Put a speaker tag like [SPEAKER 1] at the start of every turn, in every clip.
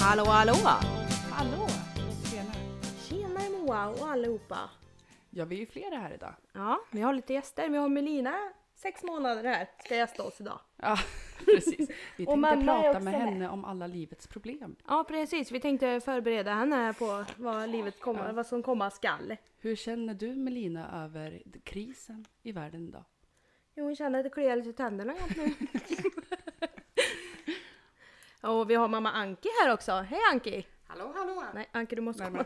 [SPEAKER 1] Hallå hallå!
[SPEAKER 2] Hallå! Senare.
[SPEAKER 1] Tjenare Moa och allihopa!
[SPEAKER 2] Ja, vi är ju flera här idag.
[SPEAKER 1] Ja, vi har lite gäster. Vi har Melina, sex månader här, ska gästa oss idag.
[SPEAKER 2] Ja, precis. Vi
[SPEAKER 1] Och
[SPEAKER 2] tänkte
[SPEAKER 1] mamma är
[SPEAKER 2] prata
[SPEAKER 1] också
[SPEAKER 2] med
[SPEAKER 1] med.
[SPEAKER 2] henne om alla livets problem.
[SPEAKER 1] Ja precis, vi tänkte förbereda henne på vad livet kommer, vad som komma skall.
[SPEAKER 2] Hur känner du Melina över d- krisen i världen idag?
[SPEAKER 1] Jo, hon känner att det kliar lite i tänderna just nu. Och vi har mamma Anki här också. Hej Anki!
[SPEAKER 3] Hallå hallå!
[SPEAKER 1] Nej Anki du måste komma.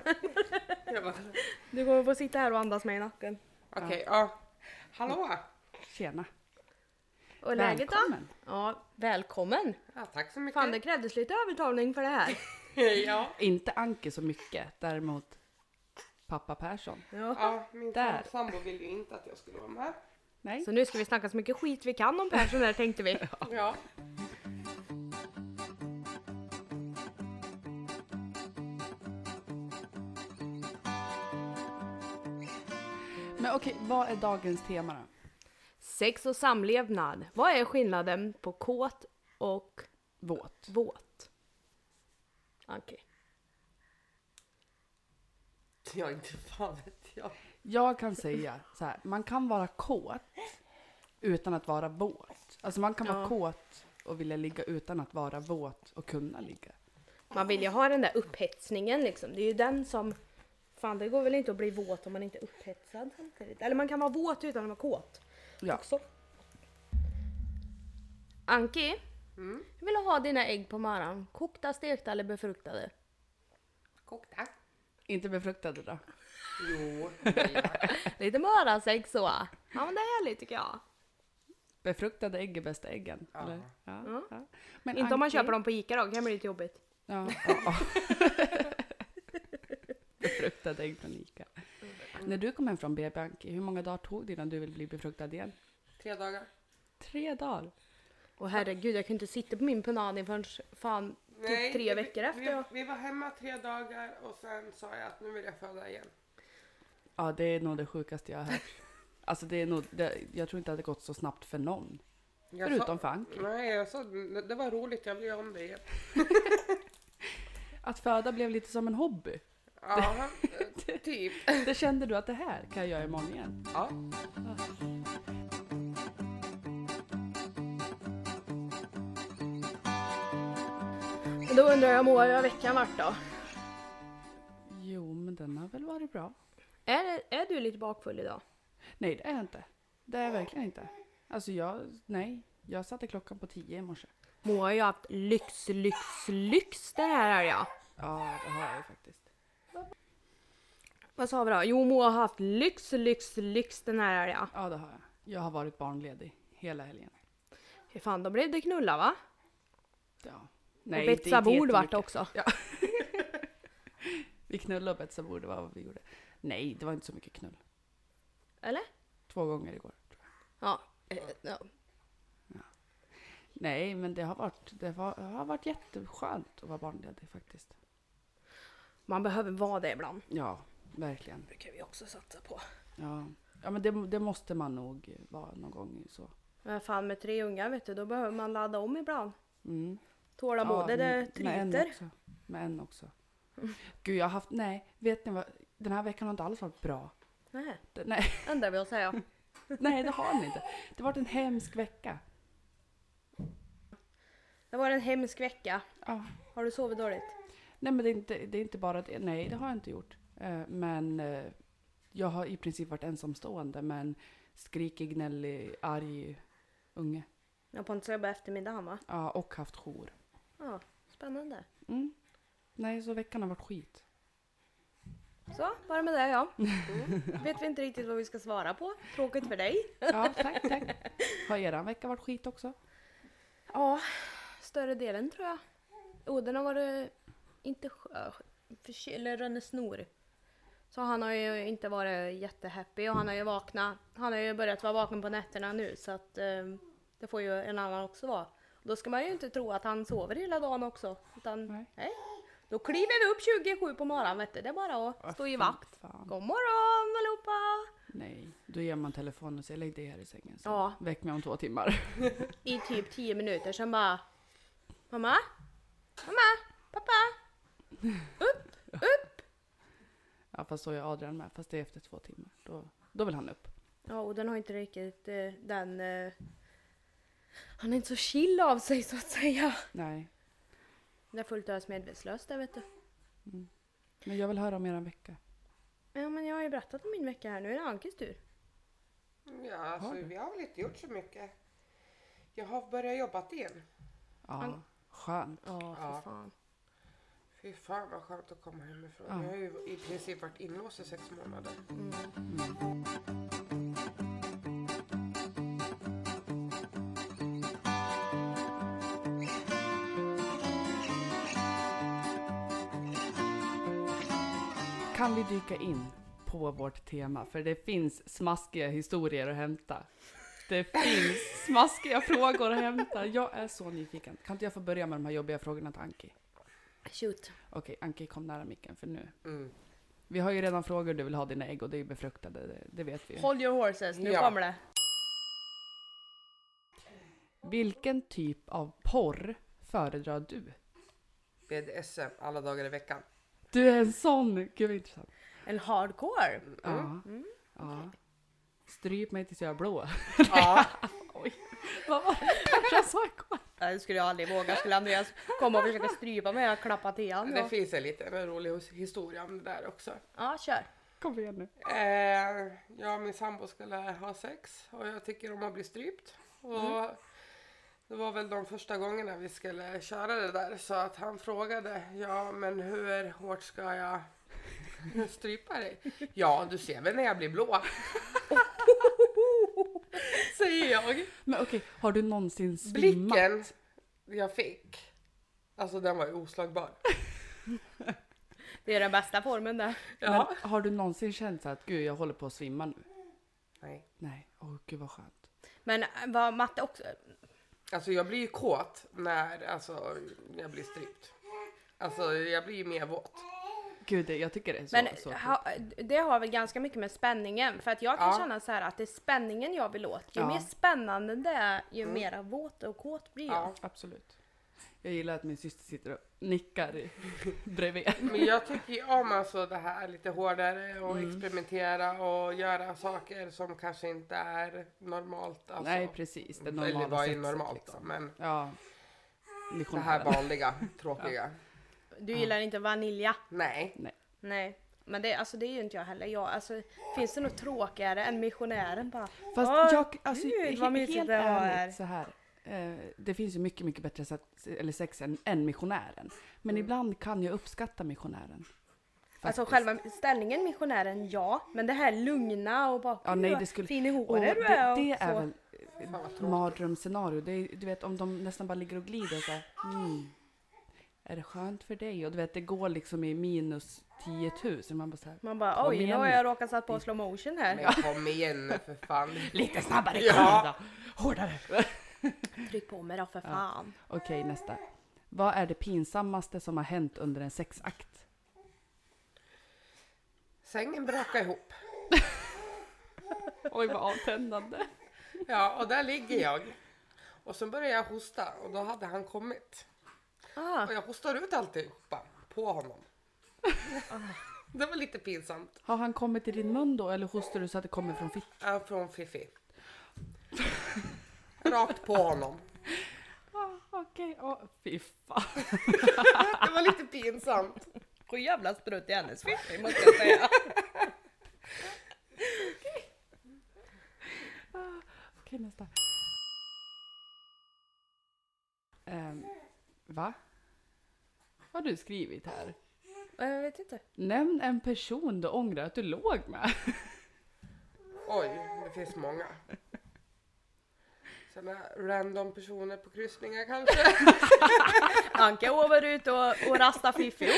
[SPEAKER 3] Jag bara,
[SPEAKER 1] Du kommer få sitta här och andas mig i nacken.
[SPEAKER 3] Okej, ja. Hallå!
[SPEAKER 2] Tjena!
[SPEAKER 1] Och läget då?
[SPEAKER 2] Välkommen.
[SPEAKER 1] Ja, välkommen!
[SPEAKER 3] Ja, tack så mycket.
[SPEAKER 1] Fan det krävdes lite övertalning för det här.
[SPEAKER 3] ja.
[SPEAKER 2] Inte Anke så mycket, däremot pappa Persson.
[SPEAKER 1] Ja.
[SPEAKER 3] ja, min
[SPEAKER 2] Där.
[SPEAKER 3] sambo ville ju inte att jag skulle vara med.
[SPEAKER 2] Nej,
[SPEAKER 1] Så nu ska vi snacka så mycket skit vi kan om Persson där tänkte vi.
[SPEAKER 3] Ja.
[SPEAKER 2] men okej, vad är dagens tema då?
[SPEAKER 1] Sex och samlevnad. Vad är skillnaden på kåt och
[SPEAKER 2] Våt.
[SPEAKER 1] våt? Anki.
[SPEAKER 3] Ja, inte fan vet jag.
[SPEAKER 2] Jag kan säga så här, man kan vara kåt utan att vara våt. Alltså man kan vara
[SPEAKER 1] Ja.
[SPEAKER 2] kåt och vilja ligga utan att vara våt och kunna ligga.
[SPEAKER 1] Man vill ju ha den där upphetsningen liksom. Det är ju den som... Fan det går väl inte att bli våt om man inte är upphetsad samtidigt. Eller man kan vara våt utan att vara kåt
[SPEAKER 2] Ja.
[SPEAKER 1] också. Anki. Hur vill du ha dina ägg på morgonen? Kokta, stekta eller befruktade?
[SPEAKER 3] Kokta.
[SPEAKER 2] Inte befruktade då?
[SPEAKER 3] Jo. ja.
[SPEAKER 1] Lite morgonsäck så. Ja men det är härligt tycker jag.
[SPEAKER 2] Befruktade ägg är bästa äggen.
[SPEAKER 3] Ja.
[SPEAKER 2] Eller? Ja, ja. Men
[SPEAKER 1] Inte om man
[SPEAKER 2] Anki-
[SPEAKER 1] köper dem på Ica då, det kan bli lite jobbigt.
[SPEAKER 2] Ja, ja, ja. befruktade ägg från Ica.
[SPEAKER 3] Mm.
[SPEAKER 2] När du kom hem från BB Anki, hur många dagar tog det innan du ville bli befruktad igen?
[SPEAKER 3] Tre dagar.
[SPEAKER 2] Tre dagar.
[SPEAKER 1] Och herregud, jag kunde inte sitta på min punani förrän fan typ tre
[SPEAKER 3] vi-
[SPEAKER 1] veckor efter.
[SPEAKER 3] Vi,
[SPEAKER 1] jag-
[SPEAKER 3] vi var hemma tre dagar och sen sa jag att nu vill jag föda igen.
[SPEAKER 2] Ja, det är nog det sjukaste jag har hört. Alltså det är nog, det, jag tror inte att det gått så snabbt för någon.
[SPEAKER 3] Jag
[SPEAKER 2] Förutom
[SPEAKER 3] sa,
[SPEAKER 2] för Anki.
[SPEAKER 3] Nej, jag sa det det var roligt, jag vill göra om det igen.
[SPEAKER 2] Att föda blev lite som en hobby.
[SPEAKER 3] Ja, eh, typ.
[SPEAKER 2] Det kände du att det här kan jag göra imorgon igen.
[SPEAKER 3] Ja.
[SPEAKER 1] Men Då undrar jag Moa, hur har veckan varit då?
[SPEAKER 2] Jo, men den har väl varit bra.
[SPEAKER 1] Är, är du lite bakfull idag?
[SPEAKER 2] Nej, det är jag inte. Det är jag verkligen inte. Alltså jag, nej. Jag satte klockan på tio i morse.
[SPEAKER 1] Moa har ju haft lyx, lyx, lyx den här är jag.
[SPEAKER 2] Ja, det har jag ju faktiskt.
[SPEAKER 1] Vad sa vi då? Jo, Moa har haft lyx, lyx, lyx den här är jag.
[SPEAKER 2] Ja, det har jag. Jag har varit barnledig hela helgen.
[SPEAKER 1] Fy fan, då blev det knulla va?
[SPEAKER 2] Ja.
[SPEAKER 1] och betsa bord vart det också.
[SPEAKER 2] Vi knullade och betsade bord, det var vad vi gjorde. Nej, det var inte så mycket knull.
[SPEAKER 1] Eller?
[SPEAKER 2] Två gånger igår. Tror jag.
[SPEAKER 1] Ja. Eh, ja.
[SPEAKER 2] Nej, men det har varit, det har, det har varit jätteskönt att vara barnledig faktiskt.
[SPEAKER 1] Man behöver vara det ibland.
[SPEAKER 2] Ja, verkligen.
[SPEAKER 1] Det kan vi också satsa på.
[SPEAKER 2] Ja, ja men det, det måste man nog vara någon gång så.
[SPEAKER 1] Men fan med tre ungar vet du, då behöver man ladda om ibland.
[SPEAKER 2] Mm.
[SPEAKER 1] Tålamod, ja, det
[SPEAKER 2] med- med en
[SPEAKER 1] tryter. Mm.
[SPEAKER 2] också. Med en också. Gud, jag har haft, nej, vet ni vad? Den här veckan har inte alls varit bra.
[SPEAKER 1] Nej,
[SPEAKER 2] Det- Nej,
[SPEAKER 1] ändrar vi oss säger jag.
[SPEAKER 2] nej det har den inte. Det har varit en hemsk vecka.
[SPEAKER 1] Det var en hemsk vecka.
[SPEAKER 2] Ja.
[SPEAKER 1] Har du sovit dåligt?
[SPEAKER 2] Nej, men det är, inte, det är inte bara det. Nej, det har jag inte gjort. Eh, Men eh, jag har i princip varit ensamstående med en skrikig, gnällig, arg unge.
[SPEAKER 1] Jag Pontus jobbade eftermiddagen va?
[SPEAKER 2] Ja, och haft jour.
[SPEAKER 1] Ja, spännande.
[SPEAKER 2] Mm. Nej, så veckan har varit skit.
[SPEAKER 1] Så, bara med det ja. Vet vi inte riktigt vad vi ska svara på. Tråkigt för dig.
[SPEAKER 2] Ja, tack, tack. Har eran vecka varit skit också?
[SPEAKER 1] Ja, större delen tror jag. Oh, den har varit inte skö- förkyld, eller den är snor. Så han har ju inte varit jättehappy och han har ju vaknat. Han har ju börjat vara vaken på nätterna nu så att eh, det får ju en annan också vara. Då ska man ju inte tro att han sover hela dagen också. Utan, nej.
[SPEAKER 2] Nej.
[SPEAKER 1] Då kliver vi upp 27 på morgonen vet du. Det är bara att stå i vakt.
[SPEAKER 2] Fan.
[SPEAKER 1] God morgon allihopa!
[SPEAKER 2] Nej, då ger man telefonen och säger lägg dig här i sängen. Så.
[SPEAKER 1] Ja.
[SPEAKER 2] Väck mig om två timmar.
[SPEAKER 1] i typ 10 minuter, sen bara Mamma? Mamma? Pappa?
[SPEAKER 2] Ja, fast så är Adrian med. Fast det är efter två timmar. Då, då vill han upp.
[SPEAKER 1] Ja, och den har inte riktigt eh, den... Eh, han är inte så chill av sig så att säga.
[SPEAKER 2] Nej.
[SPEAKER 1] Den är fullt ös medvetslös där vet du.
[SPEAKER 2] Mm. Men jag vill höra om eran vecka.
[SPEAKER 1] Ja, men jag har ju berättat om min vecka här. Nu är det Ankes tur.
[SPEAKER 3] Ja, alltså,
[SPEAKER 2] du?
[SPEAKER 3] vi har väl inte gjort så mycket. Jag har börjat jobba igen.
[SPEAKER 2] Ja,
[SPEAKER 1] Han-
[SPEAKER 2] skönt.
[SPEAKER 1] Ja, för
[SPEAKER 3] Ja.
[SPEAKER 1] fan.
[SPEAKER 3] Fy fan vad skönt att komma hemifrån.
[SPEAKER 2] Ja.
[SPEAKER 3] Jag har ju i princip varit inlåst i sex månader.
[SPEAKER 1] Mm.
[SPEAKER 2] Kan vi dyka in på vårt tema? För det finns smaskiga historier att hämta. Det finns smaskiga frågor att hämta. Jag är så nyfiken. Kan inte jag få börja med de här jobbiga frågorna till Anki?
[SPEAKER 1] Shoot.
[SPEAKER 2] Okej, Anki kom nära micken för nu.
[SPEAKER 3] Mm.
[SPEAKER 2] Vi har ju redan frågor du vill ha dina ägg och det är ju befruktade, det, det vet vi ju.
[SPEAKER 1] Hold your horses, nu
[SPEAKER 3] nu Ja.
[SPEAKER 1] kommer
[SPEAKER 3] kommer
[SPEAKER 1] det.
[SPEAKER 2] Vilken typ av porr föredrar du?
[SPEAKER 3] BDSM alla dagar i veckan.
[SPEAKER 2] Du är en sån! Gud vad intressant.
[SPEAKER 1] En hardcore.
[SPEAKER 3] Mm.
[SPEAKER 2] Ja. ja. Stryp mig tills jag är blå.
[SPEAKER 3] Ja.
[SPEAKER 2] Oj, vad var det första jag sa igår?
[SPEAKER 1] Nej, det skulle jag aldrig våga. Skulle Andreas komma och försöka strypa mig och klappa till honom.
[SPEAKER 3] Det finns en liten rolig hus- historia om det där också.
[SPEAKER 1] Ja, kör.
[SPEAKER 2] Kom igen nu.
[SPEAKER 3] Eh, jag och min sambo skulle ha sex och jag tycker om att bli strypt. Och Det var väl de första gångerna vi skulle köra det där så att han frågade ja men hur hårt ska jag strypa dig? Ja du ser väl när jag blir blå. Säger jag.
[SPEAKER 2] Men okej, har du någonsin svimmat?
[SPEAKER 3] Blicken jag fick, alltså den var ju oslagbar.
[SPEAKER 1] Det är den bästa formen där.
[SPEAKER 3] Ja.
[SPEAKER 2] Men har du någonsin känt så att gud, jag håller på att svimma nu?
[SPEAKER 3] Nej.
[SPEAKER 2] Nej, åh gud vad skönt.
[SPEAKER 1] Men var matte också...
[SPEAKER 3] Alltså jag blir ju kåt när alltså, jag blir strypt. Alltså jag blir ju mer våt.
[SPEAKER 2] Gud, det- jag tycker det är så.
[SPEAKER 1] Men
[SPEAKER 2] så
[SPEAKER 1] ha, det har väl ganska mycket med spänningen. För att jag kan
[SPEAKER 3] Ja.
[SPEAKER 1] känna så här att det är spänningen jag vill åt. Ju
[SPEAKER 2] Ja.
[SPEAKER 1] mer spännande det är, ju mera våt och kåt blir jag.
[SPEAKER 3] Ja.
[SPEAKER 2] Absolut. Jag gillar att min syster sitter och nickar i, bredvid.
[SPEAKER 3] Men jag tycker ju om alltså det här lite hårdare och
[SPEAKER 2] Mm.
[SPEAKER 3] experimentera och göra saker som kanske inte är normalt. Alltså.
[SPEAKER 2] Nej, precis. Det normala
[SPEAKER 3] Eller vad är
[SPEAKER 2] sexet,
[SPEAKER 3] normalt
[SPEAKER 2] liksom.
[SPEAKER 3] då? Men
[SPEAKER 2] Ja.
[SPEAKER 3] det här
[SPEAKER 2] Missionären.
[SPEAKER 3] vanliga, tråkiga.
[SPEAKER 1] Du gillar inte vanilja?
[SPEAKER 3] Nej.
[SPEAKER 1] Nej. Men det, alltså, det är ju inte jag heller. Jag, alltså, finns det något tråkigare än missionären bara?
[SPEAKER 2] Fast
[SPEAKER 1] Åh,
[SPEAKER 2] jag, alltså,
[SPEAKER 1] gud, vad
[SPEAKER 2] he-
[SPEAKER 1] mysigt
[SPEAKER 2] helt
[SPEAKER 1] det var här.
[SPEAKER 2] ärligt så här. Eh, det finns ju mycket, mycket bättre sex, eller sex än, än missionären. Men ibland kan jag uppskatta missionären.
[SPEAKER 1] Mm. Alltså
[SPEAKER 2] Faktiskt.
[SPEAKER 1] själva ställningen missionären, ja. Men det här lugna och bara
[SPEAKER 2] Ja, nej, det skulle...
[SPEAKER 1] fin i
[SPEAKER 2] Och
[SPEAKER 1] håret du
[SPEAKER 2] det,
[SPEAKER 1] och
[SPEAKER 2] det
[SPEAKER 1] så.
[SPEAKER 2] är väl
[SPEAKER 3] Fan vad tråkigt.
[SPEAKER 2] mardrömsscenario. Det är, du vet om de nästan bara ligger och glider så här, mm, Är det skönt för dig? Och du vet det går liksom i minus 10 000. Man bara så här,
[SPEAKER 1] Man bara
[SPEAKER 2] Kom
[SPEAKER 1] oj, nu
[SPEAKER 2] igen
[SPEAKER 1] har
[SPEAKER 2] nu.
[SPEAKER 1] jag råkat satt
[SPEAKER 2] Mm.
[SPEAKER 1] på slow motion här.
[SPEAKER 3] Men kom igen nu för fan.
[SPEAKER 2] Lite snabbare
[SPEAKER 3] Ja.
[SPEAKER 2] ja. Hårdare!
[SPEAKER 1] Tryck på mig då för fan.
[SPEAKER 2] Okej nästa. Vad är det pinsammaste som har hänt under en sexakt?
[SPEAKER 3] Sängen brakade ihop.
[SPEAKER 2] Oj vad avtändande.
[SPEAKER 3] Ja, och där ligger jag. Och sen började jag hosta och då hade han kommit.
[SPEAKER 1] Ah,
[SPEAKER 3] Och jag hostar ut alltihopa på honom. Ah. Det var lite pinsamt.
[SPEAKER 2] Har han kommit i din mun då eller hostar du så att det kommer från fitt?
[SPEAKER 3] Ja, Äh, från Fifi. Rakt på honom.
[SPEAKER 2] Okej, okay. fy fan.
[SPEAKER 3] Det var lite pinsamt.
[SPEAKER 1] och jävla strutt i hennes fiffi måste jag säga.
[SPEAKER 2] Okej, nästa. Ehm, va? Vad har du skrivit här?
[SPEAKER 1] jag vet inte.
[SPEAKER 2] Nämn en person du ångrar att du låg med.
[SPEAKER 3] Oj, det finns många. Såna random personer på kryssningar kanske.
[SPEAKER 1] Anka over ut och, och rasta fiffi.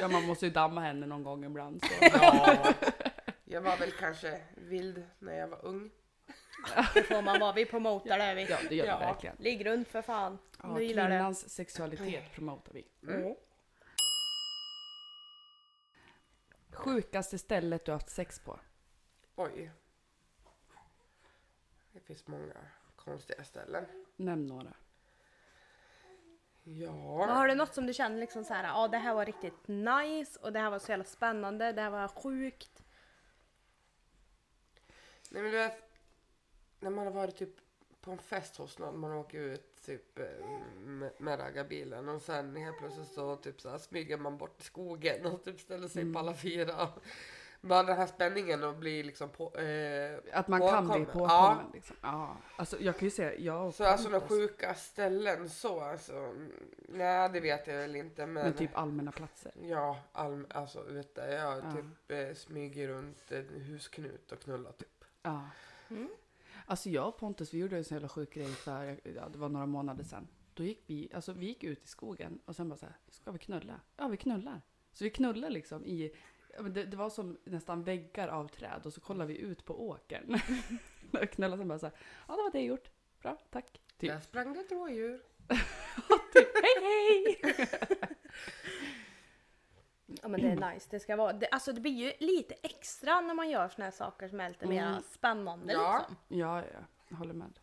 [SPEAKER 2] Ja, man måste ju damma henne någon gång ibland. Så.
[SPEAKER 3] Ja. Jag var väl kanske vild när jag var ung.
[SPEAKER 1] Det får man vara, vi promotar det här, vi.
[SPEAKER 2] Ja, det gör
[SPEAKER 3] Ja.
[SPEAKER 2] vi verkligen.
[SPEAKER 1] Ligg runt för fan. Om
[SPEAKER 2] Ja,
[SPEAKER 1] du gillar det.
[SPEAKER 2] kvinnans sexualitet promotar vi.
[SPEAKER 3] Mm.
[SPEAKER 2] Sjukaste stället du haft sex på?
[SPEAKER 3] Oj. Det finns många konstiga ställen.
[SPEAKER 2] Nämn några.
[SPEAKER 3] Ja.
[SPEAKER 1] Men har du något som du känner liksom så här, ja det här var riktigt nice och det här var så jävla spännande, det här var sjukt.
[SPEAKER 3] Nej men du vet, när man har varit typ på en fest hos någon, man åker ut typ eh, med, med raggarbilen och sen helt plötsligt så typ så här, smyger man bort i skogen och typ ställer sig
[SPEAKER 2] Mm.
[SPEAKER 3] på alla fyra. Bara den här spänningen och blir liksom på... Eh,
[SPEAKER 2] Att man kan bli
[SPEAKER 3] påkommen.
[SPEAKER 2] påkommen.
[SPEAKER 3] Ja.
[SPEAKER 2] Ja. Liksom. ja. Alltså jag kan ju säga, jag har
[SPEAKER 3] så alltså de sjuka ställen så alltså. mm, Nej det vet jag väl inte men...
[SPEAKER 2] Men typ allmänna platser.
[SPEAKER 3] Ja, all, alltså ute. Jag
[SPEAKER 2] Ja.
[SPEAKER 3] typ eh, smyger runt en husknut och knullar typ.
[SPEAKER 2] Ja. Alltså jag och Pontus, vi gjorde en så jävla sjuk grej för, ja, det var några månader sedan. Då gick vi, alltså vi gick ut i skogen och sen bara så här, ska vi knulla? Ja, vi knullar. Så vi knullar liksom i, ja, men det, det var som nästan väggar av träd och så kollar vi ut på åkern. och knullar sen bara så här, ja det var det jag gjort. Bra, tack. Typ.
[SPEAKER 3] Där sprang det ett rådjur.
[SPEAKER 2] Hej hej!
[SPEAKER 1] Ja men det är nice, det ska vara, det, alltså det blir ju lite extra när man gör såna här saker som är lite mer spännande
[SPEAKER 3] Ja.
[SPEAKER 1] liksom.
[SPEAKER 2] Ja, ja, jag håller med.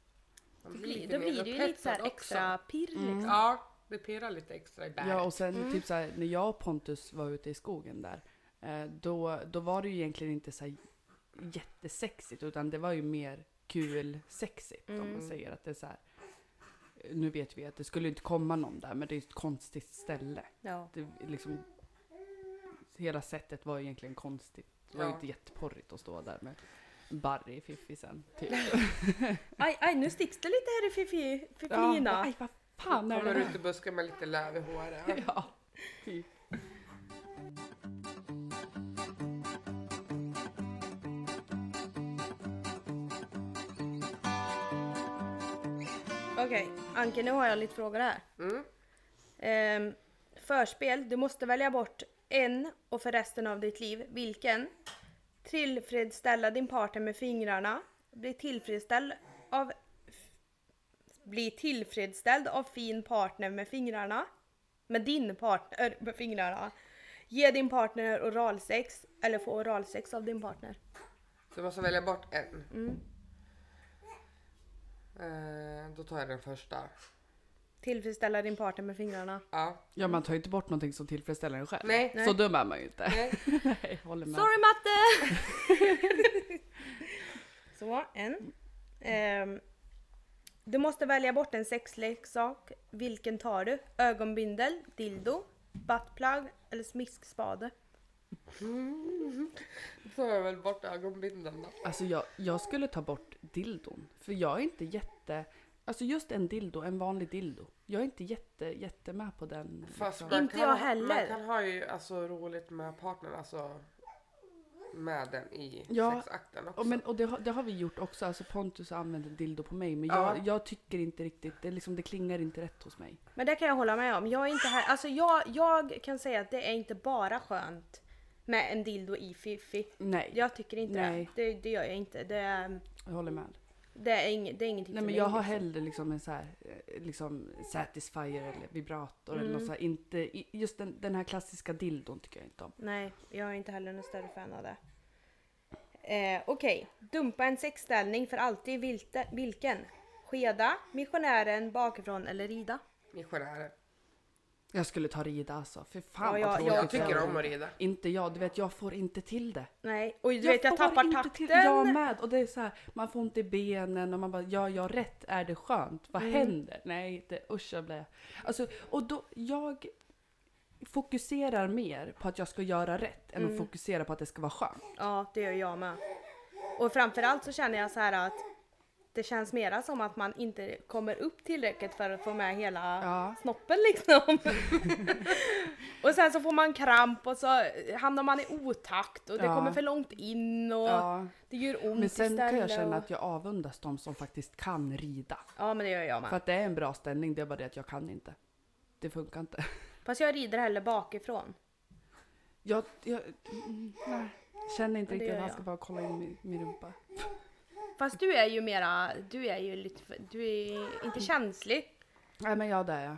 [SPEAKER 3] Man
[SPEAKER 1] Då
[SPEAKER 3] blir
[SPEAKER 1] blir,
[SPEAKER 3] lite
[SPEAKER 1] då blir det ju lite så
[SPEAKER 3] nerupphetsad
[SPEAKER 1] här
[SPEAKER 3] också.
[SPEAKER 1] extra pirr liksom.
[SPEAKER 3] Ja, det pirrar lite extra i bäret.
[SPEAKER 2] Mm. Ja, och sen
[SPEAKER 3] Mm.
[SPEAKER 2] typ så här, när jag och Pontus var ute i skogen där, eh, då, då var det ju egentligen inte så här jättesexigt, utan det var ju mer kul sexigt om
[SPEAKER 3] Mm.
[SPEAKER 2] man säger att det är så här. eh, Nu vet vi att det skulle inte komma någon där, men det är ju ett konstigt ställe.
[SPEAKER 1] Ja.
[SPEAKER 2] Det är liksom, hela sättet var ju egentligen konstigt. Det var ju
[SPEAKER 3] Ja.
[SPEAKER 2] inte jätteporrigt att stå där med Barry fiffisen. Typ.
[SPEAKER 1] Aj, aj, nu sticks det lite här i fifi, fifilina.
[SPEAKER 2] aj, vad fan är det
[SPEAKER 3] Kommer
[SPEAKER 2] här?
[SPEAKER 3] ut i busken med lite löv i håret.
[SPEAKER 2] Ja, typ.
[SPEAKER 1] Okej, Anke nu har jag lite frågor här.
[SPEAKER 3] Mm.
[SPEAKER 1] Ehm, förspel, du måste välja bort en och för resten av ditt liv. Vilken? Tillfredsställa din partner med fingrarna. Bli tillfredsställd av... f- Bli tillfredsställd av fin partner med fingrarna. Med din partner med fingrarna. Ge din partner oralsex eller få oralsex av din partner.
[SPEAKER 3] Så jag måste välja bort en.
[SPEAKER 2] Mm.
[SPEAKER 3] Eh, då tar jag den första.
[SPEAKER 1] Tillfredsställa din partner med fingrarna.
[SPEAKER 3] Ja.
[SPEAKER 2] Ja, man tar ju inte bort någonting som tillfredsställer en själv.
[SPEAKER 3] Nej.
[SPEAKER 2] Så dum är man ju inte.
[SPEAKER 3] Nej.
[SPEAKER 2] Nej, håller med.
[SPEAKER 1] Sorry matte! Så, en. Ehm, du måste välja bort en sexleksak. Vilken tar du? Ögonbindel, dildo, buttplug eller smiskspade?
[SPEAKER 3] Då tar jag väl bort ögonbindeln då.
[SPEAKER 2] Alltså jag, jag skulle ta bort dildon. För jag är inte jätte... Alltså just en dildo, en vanlig dildo. Jag är inte jätte, jätte med på den.
[SPEAKER 3] Fast
[SPEAKER 2] liksom.
[SPEAKER 3] man
[SPEAKER 1] Inte
[SPEAKER 3] kan
[SPEAKER 1] jag
[SPEAKER 3] ha- Man
[SPEAKER 1] heller.
[SPEAKER 3] kan ha ju alltså roligt med partnern alltså. Med den i
[SPEAKER 2] Ja,
[SPEAKER 3] sexakten också.
[SPEAKER 2] och men, och det, har- det har vi gjort också. Alltså Pontus använde dildo på mig. Men
[SPEAKER 3] Ja.
[SPEAKER 2] jag, jag tycker inte riktigt, det, är liksom, det klingar inte rätt hos mig.
[SPEAKER 1] Men det kan jag hålla med om. Jag, är inte här, alltså jag, jag kan säga att det är inte bara skönt med en dildo i fiffi.
[SPEAKER 2] Nej,
[SPEAKER 1] Jag tycker inte
[SPEAKER 2] Nej.
[SPEAKER 1] det. det. Det gör jag inte. Det, är-
[SPEAKER 2] jag håller med.
[SPEAKER 1] det, är, ing, det är ingenting
[SPEAKER 2] Nej
[SPEAKER 1] för
[SPEAKER 2] men
[SPEAKER 1] mig,
[SPEAKER 2] jag har
[SPEAKER 1] liksom.
[SPEAKER 2] hellre liksom en så här, eh, liksom satisfier eller vibrator eller
[SPEAKER 3] Mm.
[SPEAKER 2] något så här. Inte, i- just den, den här klassiska dildon tycker jag inte om.
[SPEAKER 1] Nej, jag är inte heller någon större fan av det. Eh, Okej, dumpa en sexställning för alltid. Vilte, vilken? Skeda, missionären, bakifrån eller rida?
[SPEAKER 3] Missionärer.
[SPEAKER 2] Jag skulle ta rida alltså. För fan
[SPEAKER 1] Ja,
[SPEAKER 2] vad
[SPEAKER 1] jag-
[SPEAKER 2] tråkigt.
[SPEAKER 1] jag
[SPEAKER 3] Jag tycker
[SPEAKER 2] är.
[SPEAKER 3] om att rida.
[SPEAKER 2] Inte jag, du vet jag får inte till det.
[SPEAKER 1] Nej, och du vet jag
[SPEAKER 2] får
[SPEAKER 1] tappar
[SPEAKER 2] inte
[SPEAKER 1] takten.
[SPEAKER 2] till- Jag med. Och det är så här, man får ont i benen och man bara, ja jag rätt, är det skönt? Vad
[SPEAKER 1] Mm.
[SPEAKER 2] händer? Nej, det, usch jag blir... Alltså, och då, jag fokuserar mer på att jag ska göra rätt
[SPEAKER 1] Mm.
[SPEAKER 2] än att fokusera på att det ska vara skönt.
[SPEAKER 1] Ja, det gör jag med. Och framförallt så känner jag så här att det känns mera som att man inte kommer upp tillräckligt för att få med hela
[SPEAKER 2] Ja.
[SPEAKER 1] snoppen liksom. och sen så får man kramp och så hamnar man i otakt och det
[SPEAKER 2] Ja.
[SPEAKER 1] kommer för långt in och
[SPEAKER 2] Ja.
[SPEAKER 1] det gör ont
[SPEAKER 2] Men sen kan jag
[SPEAKER 1] istället
[SPEAKER 2] känna
[SPEAKER 1] och-
[SPEAKER 2] att jag avundas de som faktiskt kan rida.
[SPEAKER 1] Ja men det gör jag
[SPEAKER 2] För
[SPEAKER 1] med.
[SPEAKER 2] att det är en bra ställning, det är bara det att jag kan inte. Det funkar inte.
[SPEAKER 1] Fast jag rider hellre bakifrån.
[SPEAKER 2] Jag, jag mm, nej, känner inte
[SPEAKER 1] Ja, det
[SPEAKER 2] riktigt att
[SPEAKER 1] gör
[SPEAKER 2] han
[SPEAKER 1] jag.
[SPEAKER 2] ska bara kolla in min, min rumpa.
[SPEAKER 1] Fast du är ju mera, du är ju lite, för- du är inte känslig.
[SPEAKER 2] Nej men ja det är jag.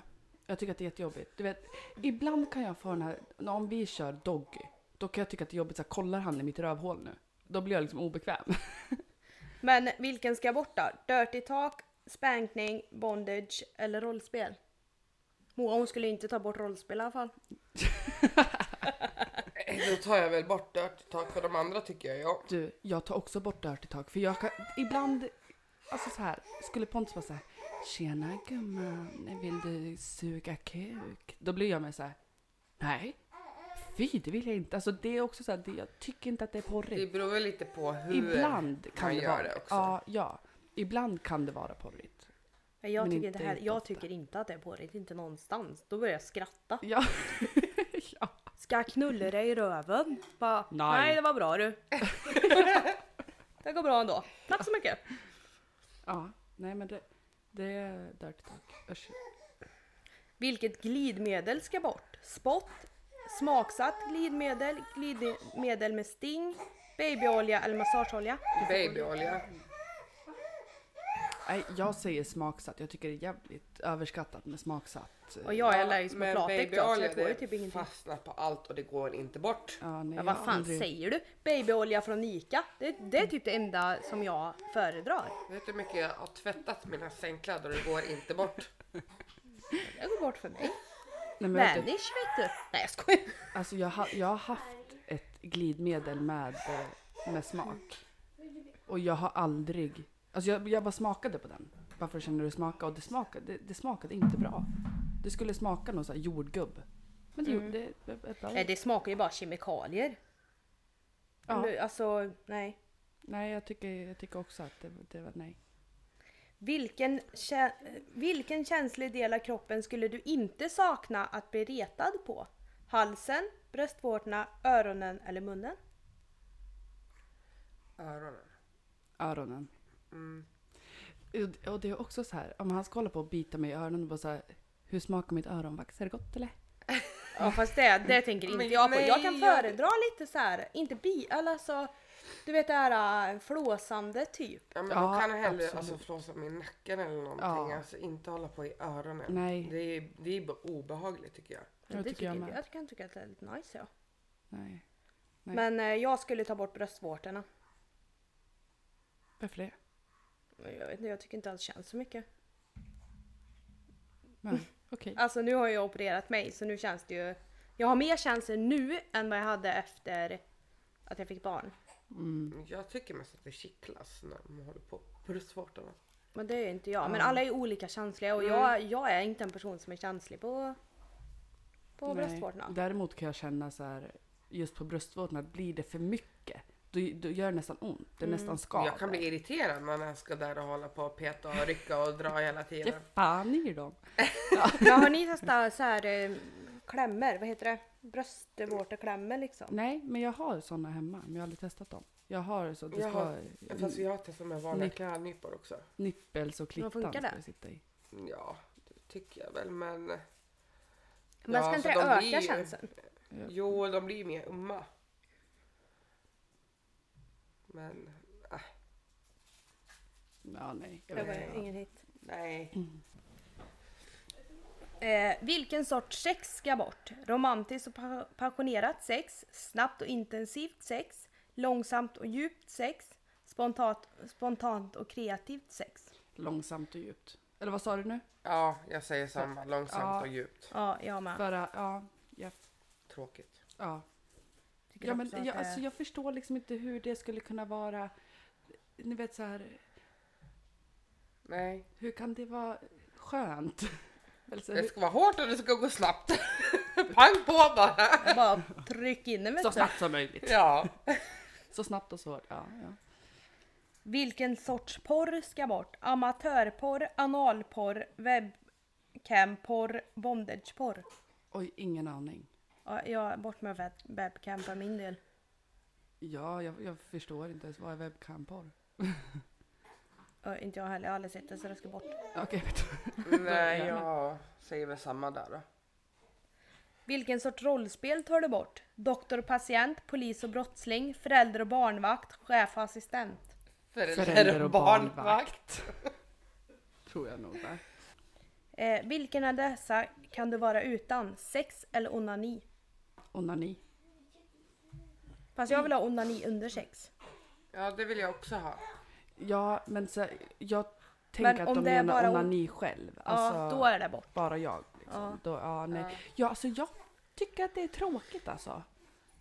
[SPEAKER 2] Jag tycker att det är jättejobbigt. Du vet, ibland kan jag få den här, om vi kör doggy, då kan jag tycka att det är jobbigt, så här, kollar han i mitt rövhål nu? Då blir jag liksom obekväm.
[SPEAKER 1] Men vilken ska bort då? Dirty talk, spankning, bondage eller rollspel? Moa hon skulle inte ta bort rollspel i alla fall.
[SPEAKER 3] Då tar jag väl bort Dirty Talk för de andra tycker jag ja.
[SPEAKER 2] Du, jag tar också bort Dirty Talk för jag kan ibland, alltså så här, skulle Pontus vara så här, tjena gumman, vill du suga kuk? Då blir jag med så här, nej, fy det vill jag inte. Alltså det är också så här, det, jag tycker inte att det är
[SPEAKER 3] Det
[SPEAKER 2] porrigt.
[SPEAKER 3] beror väl lite på hur...
[SPEAKER 2] Ibland kan
[SPEAKER 3] man
[SPEAKER 2] det
[SPEAKER 3] gör
[SPEAKER 2] vara
[SPEAKER 3] det också.
[SPEAKER 2] Ja, ja, ibland kan det vara porrigt.
[SPEAKER 1] Men jag,
[SPEAKER 2] Men
[SPEAKER 1] tycker,
[SPEAKER 2] inte
[SPEAKER 1] det här, jag
[SPEAKER 2] utåt.
[SPEAKER 1] tycker inte att det är porrigt, inte någonstans. Då börjar jag skratta.
[SPEAKER 2] Ja, ja.
[SPEAKER 1] Ska jag knulla dig i röven? Bara, nej.
[SPEAKER 2] Nej.
[SPEAKER 1] det var bra du. det går bra ändå. Tack så mycket.
[SPEAKER 2] ja. nej men det, det är Dirty Talk. Usch.
[SPEAKER 1] Vilket glidmedel ska bort? Spott, smaksatt glidmedel, glidmedel med sting, babyolja eller massageolja?
[SPEAKER 3] Babyolja.
[SPEAKER 2] Nej, jag säger smaksatt, jag tycker det är jävligt överskattat med smaksatt.
[SPEAKER 1] Och jag är allergisk mot
[SPEAKER 3] Men
[SPEAKER 1] latex då, så jag
[SPEAKER 3] babyolja
[SPEAKER 1] tål ju
[SPEAKER 3] det
[SPEAKER 1] typ ingenting.
[SPEAKER 3] fastnar på allt och det går inte bort.
[SPEAKER 2] Ja, nej,
[SPEAKER 1] Ja,
[SPEAKER 2] jag
[SPEAKER 1] vad
[SPEAKER 2] har
[SPEAKER 1] fan
[SPEAKER 2] aldrig-
[SPEAKER 1] säger du? Babyolja från Ica? Det, det är typ det enda som jag föredrar.
[SPEAKER 3] Vet du hur mycket jag har tvättat mina sängkläder och det går inte bort?
[SPEAKER 1] Det går bort för mig.
[SPEAKER 2] Nej, men vet du,
[SPEAKER 1] Vanish vet du. Nej jag skojar.
[SPEAKER 2] Alltså jag, ha, jag har haft ett glidmedel med, eh, med smak. Och jag har aldrig... Alltså jag, jag bara smakade på den. Varför känner du smaka? Och det smakade, det, det smakade inte bra. Det skulle smaka någon sån här jordgubb. Men det, gjorde
[SPEAKER 3] Mm.
[SPEAKER 2] det, det, det,
[SPEAKER 1] Nej det smakar ju bara kemikalier.
[SPEAKER 2] Ja.
[SPEAKER 1] Eller, Alltså nej.
[SPEAKER 2] Nej, jag tycker, jag tycker också att det, det var nej.
[SPEAKER 1] Vilken, kä- vilken känslig del av kroppen skulle du inte sakna att bli retad på? Halsen, bröstvårtorna, öronen eller munnen?
[SPEAKER 3] Öronen.
[SPEAKER 2] Öronen.
[SPEAKER 3] Mm.
[SPEAKER 2] Och- Och det är också så här, om han ska hålla på och bita mig i öronen och bara så här, hur smakar mitt öronvax? Är det gott eller?
[SPEAKER 1] Ja fast det, det tänker inte
[SPEAKER 3] Men
[SPEAKER 1] jag på. Jag
[SPEAKER 3] nej,
[SPEAKER 1] kan
[SPEAKER 3] jag-
[SPEAKER 1] föredra lite så här, inte bi, eller alltså du vet det här äh, flåsande typ.
[SPEAKER 3] Ja men
[SPEAKER 2] Ja,
[SPEAKER 3] då kan jag hellre
[SPEAKER 2] absolut.
[SPEAKER 3] alltså, flåsa mig i nacken eller någonting.
[SPEAKER 2] Ja.
[SPEAKER 3] Alltså inte hålla på i öronen.
[SPEAKER 2] Nej.
[SPEAKER 3] Det är, det är bara obehagligt tycker jag.
[SPEAKER 2] Ja, det
[SPEAKER 1] det
[SPEAKER 2] tycker jag
[SPEAKER 1] inte
[SPEAKER 2] med.
[SPEAKER 1] jag kan tycka att det är lite nice ja.
[SPEAKER 2] Nej. Nej.
[SPEAKER 1] Men eh, jag skulle ta bort bröstvårtorna.
[SPEAKER 2] Varför det?
[SPEAKER 1] Jag vet inte, jag tycker inte alls känns så mycket.
[SPEAKER 2] Nej. Okej.
[SPEAKER 1] Alltså nu har jag opererat mig så nu känns det ju... Jag har mer känslor nu än vad jag hade efter att jag fick barn.
[SPEAKER 2] Mm.
[SPEAKER 3] Jag tycker mest att det kittlas när man håller på bröstvårtorna.
[SPEAKER 1] Men det är inte jag. Men alla är olika känsliga och jag, jag är inte en person som är känslig på, på
[SPEAKER 2] Nej.
[SPEAKER 1] bröstvårtorna.
[SPEAKER 2] Däremot kan jag känna så här, just på bröstvårtorna, blir det för mycket, då, då gör det nästan ont. Det är
[SPEAKER 1] Mm.
[SPEAKER 2] nästan skaver.
[SPEAKER 3] Jag kan bli irriterad när jag ska där och hålla på och peta och rycka och dra hela
[SPEAKER 2] Ge
[SPEAKER 3] tiden.
[SPEAKER 2] fan i dem.
[SPEAKER 1] Men har ni testat så här eh, klämmer? Vad heter det? Bröstvårteklämmer liksom.
[SPEAKER 2] Nej, men jag har sådana hemma, men jag har aldrig testat dem. Jag har så, det
[SPEAKER 3] Jag
[SPEAKER 2] ska
[SPEAKER 3] har, fast jag har testat med vanliga
[SPEAKER 2] Nytt.
[SPEAKER 3] klädnypor också.
[SPEAKER 2] nippels och klittan
[SPEAKER 1] Vad funkar
[SPEAKER 2] ska
[SPEAKER 1] det?
[SPEAKER 2] det sitta i.
[SPEAKER 3] Ja, det tycker jag väl men...
[SPEAKER 1] Men
[SPEAKER 3] Ja,
[SPEAKER 1] ska inte
[SPEAKER 3] så
[SPEAKER 1] det
[SPEAKER 3] de blir
[SPEAKER 1] öka
[SPEAKER 3] ju-
[SPEAKER 1] känslan?
[SPEAKER 3] Jo, de blir ju mer umma. Men äh,
[SPEAKER 2] Ja, nej.
[SPEAKER 1] Det var ingen hit.
[SPEAKER 3] nej.
[SPEAKER 1] Eh, vilken sorts sex ska bort? Romantiskt och pa- passionerat sex, snabbt och intensivt sex, långsamt och djupt sex, spontant, spontant och kreativt sex.
[SPEAKER 2] Långsamt och djupt. Eller vad sa du nu?
[SPEAKER 3] Ja, jag säger samma. Långsamt
[SPEAKER 2] Ja.
[SPEAKER 3] och djupt.
[SPEAKER 1] Ja, jag med.
[SPEAKER 2] För, äh, ja, ja,
[SPEAKER 3] Tråkigt.
[SPEAKER 2] ja.
[SPEAKER 1] Tycker
[SPEAKER 2] ja
[SPEAKER 1] också
[SPEAKER 2] men
[SPEAKER 1] att
[SPEAKER 2] jag,
[SPEAKER 1] det-
[SPEAKER 2] alltså, jag förstår liksom inte hur det skulle kunna vara, ni vet så här,
[SPEAKER 3] Nej.
[SPEAKER 2] hur kan det vara skönt? Eller så,
[SPEAKER 3] Det
[SPEAKER 2] hur,
[SPEAKER 3] ska vara hårt och det ska gå snabbt. Pang på bara!
[SPEAKER 1] Bara tryck in den vet
[SPEAKER 2] så
[SPEAKER 1] du.
[SPEAKER 2] snabbt som möjligt.
[SPEAKER 3] Ja.
[SPEAKER 2] Så snabbt och så hårt. Ja, ja.
[SPEAKER 1] Vilken sorts porr ska bort? Amatörporr, analporr, webcamporr, bondageporr.
[SPEAKER 2] Oj, ingen aning.
[SPEAKER 1] Ja, jag bort med web- webcam för min del.
[SPEAKER 2] Ja, jag, jag förstår inte ens vad är webcam-porr.
[SPEAKER 1] Ja, inte jag heller, jag har aldrig sett det så det ska bort.
[SPEAKER 2] Okej, vet du.
[SPEAKER 3] Nej, jag säger väl samma där då.
[SPEAKER 1] Vilken sorts rollspel tar du bort? Doktor och patient, polis och brottsling, förälder och barnvakt, chef och assistent.
[SPEAKER 3] Förälder och barnvakt.
[SPEAKER 2] Tror jag nog. Va?
[SPEAKER 1] Eh, vilken av dessa kan du vara utan? Sex eller onani?
[SPEAKER 2] Onani.
[SPEAKER 1] Fast jag vill ha onani under sex.
[SPEAKER 3] Ja, det vill jag också ha.
[SPEAKER 2] Ja, men så, jag tänker att
[SPEAKER 1] om
[SPEAKER 2] de
[SPEAKER 1] det är
[SPEAKER 2] menar
[SPEAKER 1] bara on-
[SPEAKER 2] onani själv. Alltså-
[SPEAKER 1] Ja, då är det bort.
[SPEAKER 2] bara jag. Liksom. liksom.
[SPEAKER 1] Ja.
[SPEAKER 2] Ja. Då, ja, nej.
[SPEAKER 3] Ja.
[SPEAKER 2] Ja. alltså jag tycker att det är tråkigt alltså.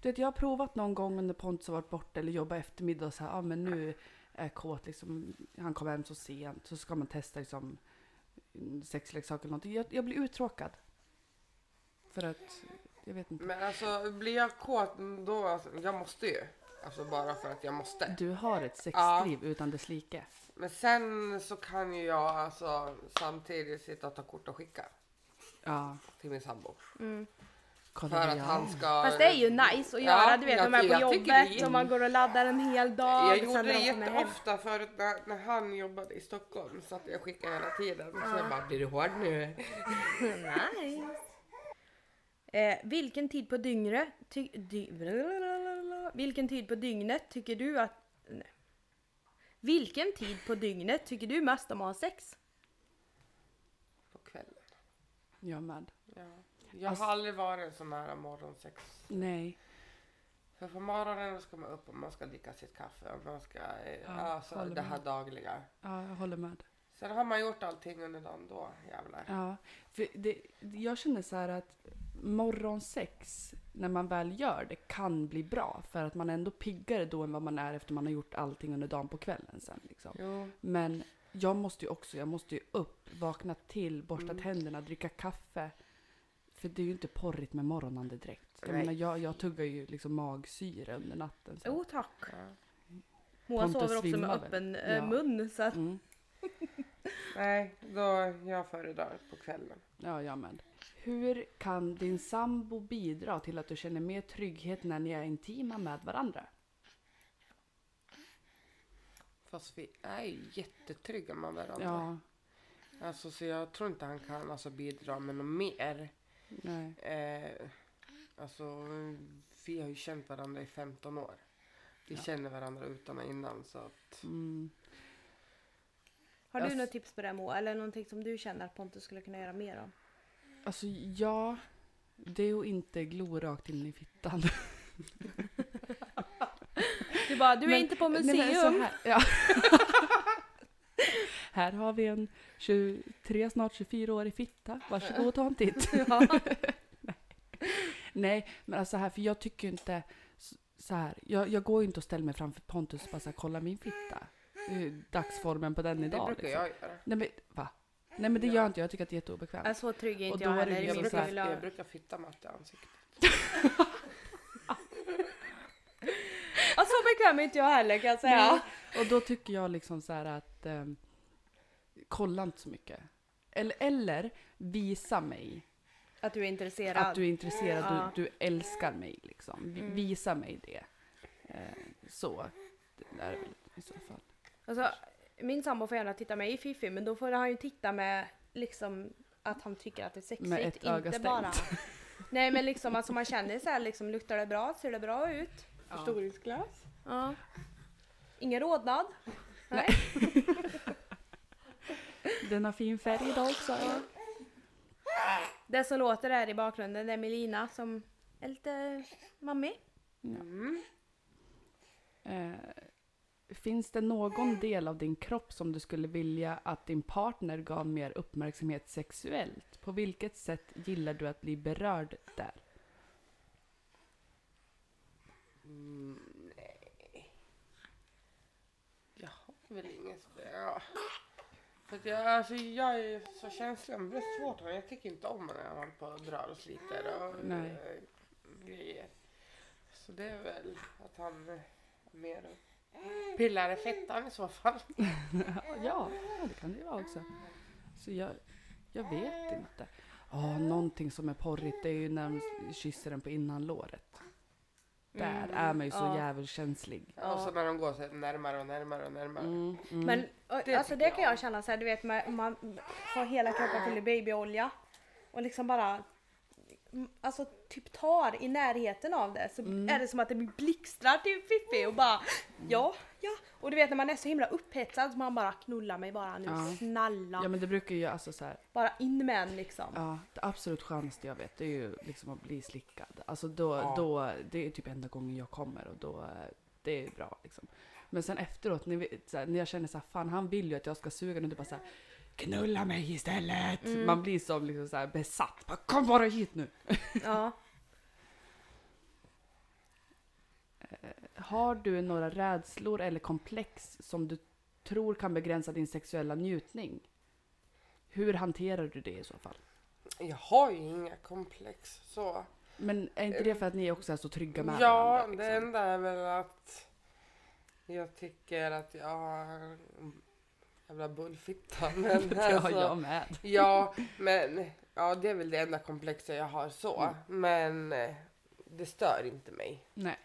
[SPEAKER 2] Du vet, jag har provat någon gång under Pontus har varit borta eller jobbat eftermiddag och så här, ah, men nu är jag kåt liksom. Han kommer hem så sent så ska man testa liksom sexleksaker eller någonting. Jag, jag blir uttråkad. För att, jag vet inte.
[SPEAKER 3] Men alltså blir jag kåt då, alltså, jag måste ju. Alltså bara för att jag måste.
[SPEAKER 2] Du har ett sexliv utan dess like.
[SPEAKER 3] Men sen så kan ju jag alltså samtidigt sitta och ta kort och skicka
[SPEAKER 2] Ja,
[SPEAKER 3] till min sambo.
[SPEAKER 1] Mm.
[SPEAKER 2] kolla
[SPEAKER 3] För
[SPEAKER 2] det
[SPEAKER 3] att
[SPEAKER 2] jag
[SPEAKER 3] han
[SPEAKER 2] har.
[SPEAKER 3] ska...
[SPEAKER 1] Fast det är ju nice att
[SPEAKER 3] Ja,
[SPEAKER 1] göra, du vet
[SPEAKER 3] jag
[SPEAKER 1] när man är
[SPEAKER 3] ty-
[SPEAKER 1] på
[SPEAKER 3] jag tycker det är
[SPEAKER 1] jobbet och man går och laddar en hel dag.
[SPEAKER 3] Jag
[SPEAKER 1] och
[SPEAKER 3] gjorde
[SPEAKER 1] sen när
[SPEAKER 3] det
[SPEAKER 1] de kommer hem.
[SPEAKER 3] jätteofta förut när, när han jobbade i Stockholm så att jag skickade hela tiden. Så jag bara, blir du hård nu?
[SPEAKER 1] nice. Eh, vilken tid på dygnet... Ty, dy, blablabla. vilken tid på dygnet tycker du att... Nej. Vilken tid på dygnet tycker du mest om att ha sex?
[SPEAKER 3] På kvällen.
[SPEAKER 2] Jag med.
[SPEAKER 3] Ja. Jag
[SPEAKER 2] Alltså-
[SPEAKER 3] har aldrig varit så nära morgonsex.
[SPEAKER 2] Nej.
[SPEAKER 3] För på morgonen då ska man upp och man ska dricka sitt kaffe och man ska, eh,
[SPEAKER 2] Ja,
[SPEAKER 3] alltså
[SPEAKER 2] håller
[SPEAKER 3] det här
[SPEAKER 2] med.
[SPEAKER 3] dagliga.
[SPEAKER 2] Ja, jag håller med.
[SPEAKER 3] Sen har man gjort allting under dagen då, jävlar.
[SPEAKER 2] Ja, för det, jag känner så här att morgonsex, när man väl gör det, kan bli bra. För att man är ändå piggare då än vad man är efter man har gjort allting under dagen på kvällen sen. Liksom.
[SPEAKER 3] Jo.
[SPEAKER 2] Men jag måste ju också, jag måste ju upp, vakna till, borsta tänderna, dricka kaffe. För det är ju inte porrigt med morgonande direkt. Jag
[SPEAKER 3] Nej.
[SPEAKER 2] menar, jag, jag tuggar ju liksom magsyra under natten. Så.
[SPEAKER 1] Jo Oh, tack.
[SPEAKER 3] Ja.
[SPEAKER 1] Moa
[SPEAKER 2] Pontus
[SPEAKER 1] sover också med
[SPEAKER 2] svimmar väl?
[SPEAKER 1] öppen eh,
[SPEAKER 2] Ja.
[SPEAKER 1] mun så att...
[SPEAKER 2] Mm.
[SPEAKER 3] Nej, då jag föredrar på kvällen.
[SPEAKER 2] Ja, jag med. Hur kan din sambo bidra till att du känner mer trygghet när ni är intima med varandra?
[SPEAKER 3] Fast vi är ju jättetrygga med varandra.
[SPEAKER 2] Ja,
[SPEAKER 3] Alltså, så jag tror inte han kan alltså, bidra med något mer.
[SPEAKER 2] nej.
[SPEAKER 3] Eh, alltså, vi har ju känt varandra i 15 år. Vi
[SPEAKER 2] Ja.
[SPEAKER 3] känner varandra utan och innan. Så att,
[SPEAKER 2] Mm.
[SPEAKER 1] Har du
[SPEAKER 2] Jag-
[SPEAKER 1] något tips på det här, Moa? Eller någonting som du känner att Pontus skulle kunna göra mer av?
[SPEAKER 2] Alltså, ja. Det är att inte glo rakt in i fittan.
[SPEAKER 1] Du bara, du är
[SPEAKER 2] Men-
[SPEAKER 1] inte på
[SPEAKER 2] Nej, men så
[SPEAKER 1] museum!
[SPEAKER 2] här, ja. här har vi en 23, snart 24-årig fitta. Varsågod och ta en titt.
[SPEAKER 1] ja.
[SPEAKER 2] Nej, men alltså här, för jag tycker ju inte s- så här. Jag, jag går ju inte och ställer mig framför Pontus och bara så här, kolla min fitta. Det är ju Dagsformen på den
[SPEAKER 3] det
[SPEAKER 2] idag.
[SPEAKER 3] brukar
[SPEAKER 2] liksom.
[SPEAKER 3] jag göra.
[SPEAKER 2] Nej men va? Nej men det
[SPEAKER 3] Ja.
[SPEAKER 2] gör inte jag, jag tycker att det är jätteobekvämt.
[SPEAKER 1] Ja, Så trygg är
[SPEAKER 2] Och
[SPEAKER 1] inte
[SPEAKER 2] då
[SPEAKER 1] jag
[SPEAKER 2] är det
[SPEAKER 1] heller. Det
[SPEAKER 2] ju
[SPEAKER 3] Jag
[SPEAKER 2] så
[SPEAKER 1] finns
[SPEAKER 2] här-
[SPEAKER 1] väl-
[SPEAKER 3] brukar, jag brukar fitta matte i ansiktet.
[SPEAKER 1] Ja, så bekväm är inte jag heller kan jag säga.
[SPEAKER 2] Nej. Och då tycker jag liksom så här att ehm, kolla inte så mycket. Eller, eller visa mig
[SPEAKER 1] Att du är intresserad.
[SPEAKER 2] att du är intresserad,
[SPEAKER 1] Ja.
[SPEAKER 2] du, du älskar mig liksom. Vi-
[SPEAKER 1] Mm.
[SPEAKER 2] Visa mig det. Eh, så. Det är väl i så fall.
[SPEAKER 1] Alltså, min sambo får gärna titta mig i Fifi men då får han ju titta med liksom att han tycker att det är sexigt.
[SPEAKER 2] Med ett öga
[SPEAKER 1] inte
[SPEAKER 2] stängt.
[SPEAKER 1] bara. Nej men liksom alltså man känner så här liksom luktar det bra? Ser det bra ut?
[SPEAKER 3] Förstoringsglas.
[SPEAKER 1] Ja. Ingen rodnad? Nej.
[SPEAKER 2] Den har fin färg idag också. Ja.
[SPEAKER 1] Det som låter där i bakgrunden det är Melina som är lite mammi.
[SPEAKER 3] Mm.
[SPEAKER 2] Eh, finns det någon del av din kropp som du skulle vilja att din partner gav mer uppmärksamhet sexuellt? På vilket sätt gillar du att bli berörd där?
[SPEAKER 3] Mm, nej. Jag har väl inget... Ja. För att jag, alltså, jag är ju så känslig. Men det är svårt. Jag tycker inte om när man på och drar och sliter och
[SPEAKER 2] Nej.
[SPEAKER 3] eh, grejer. Så det är väl att han eh, mer pillar i fettan i så fall.
[SPEAKER 2] Ja, ja, det kan det ju vara också. Så jag, jag vet inte. Ja, någonting som är porrigt det är ju när de kysser den på innanlåret. Där är man ju så
[SPEAKER 1] Mm, ja.
[SPEAKER 2] djävulkänslig.
[SPEAKER 1] Ja.
[SPEAKER 3] Och så när de går så här närmare och närmare och närmare.
[SPEAKER 2] Mm, mm.
[SPEAKER 1] Men och,
[SPEAKER 3] Det
[SPEAKER 1] alltså
[SPEAKER 3] tycker
[SPEAKER 1] det kan
[SPEAKER 3] jag.
[SPEAKER 1] jag känna så här, du vet man, man har hela kroppen full i babyolja och liksom bara mm, Alltså typ tar i närheten av det så är det som att det blir blixtrar till Fiffi och bara ja, ja. Och du vet när man är så himla upphetsad så man bara knulla mig bara nu
[SPEAKER 2] Ja.
[SPEAKER 1] snälla.
[SPEAKER 2] Ja men det brukar ju alltså så här,
[SPEAKER 1] Bara in med en liksom.
[SPEAKER 2] Ja, det absolut skönaste jag vet det är ju liksom att bli slickad. Alltså då,
[SPEAKER 3] Ja.
[SPEAKER 2] då, det är typ enda gången jag kommer och då, eh, det är bra liksom. Men sen efteråt, när, vi, så här, när jag känner så här, fan han vill ju att jag ska suga den, det bara så här, knulla mig istället.
[SPEAKER 1] Mm.
[SPEAKER 2] Man blir som liksom så här besatt. Bara, Kom bara hit nu.
[SPEAKER 1] Ja.
[SPEAKER 2] Har du några rädslor eller komplex som du tror kan begränsa din sexuella njutning? Hur hanterar du det i så fall?
[SPEAKER 3] Jag har ju inga komplex så.
[SPEAKER 2] Men är inte det för att ni också är så trygga med
[SPEAKER 3] Ja,
[SPEAKER 2] varandra?
[SPEAKER 3] det
[SPEAKER 2] liksom?
[SPEAKER 3] enda är väl att jag tycker att jag har en jävla bullfitta. Men
[SPEAKER 2] det har
[SPEAKER 3] alltså,
[SPEAKER 2] jag med.
[SPEAKER 3] Ja, men ja, det är väl det enda komplexet jag har så.
[SPEAKER 2] Mm.
[SPEAKER 3] Men eh, det stör inte mig.
[SPEAKER 2] Nej.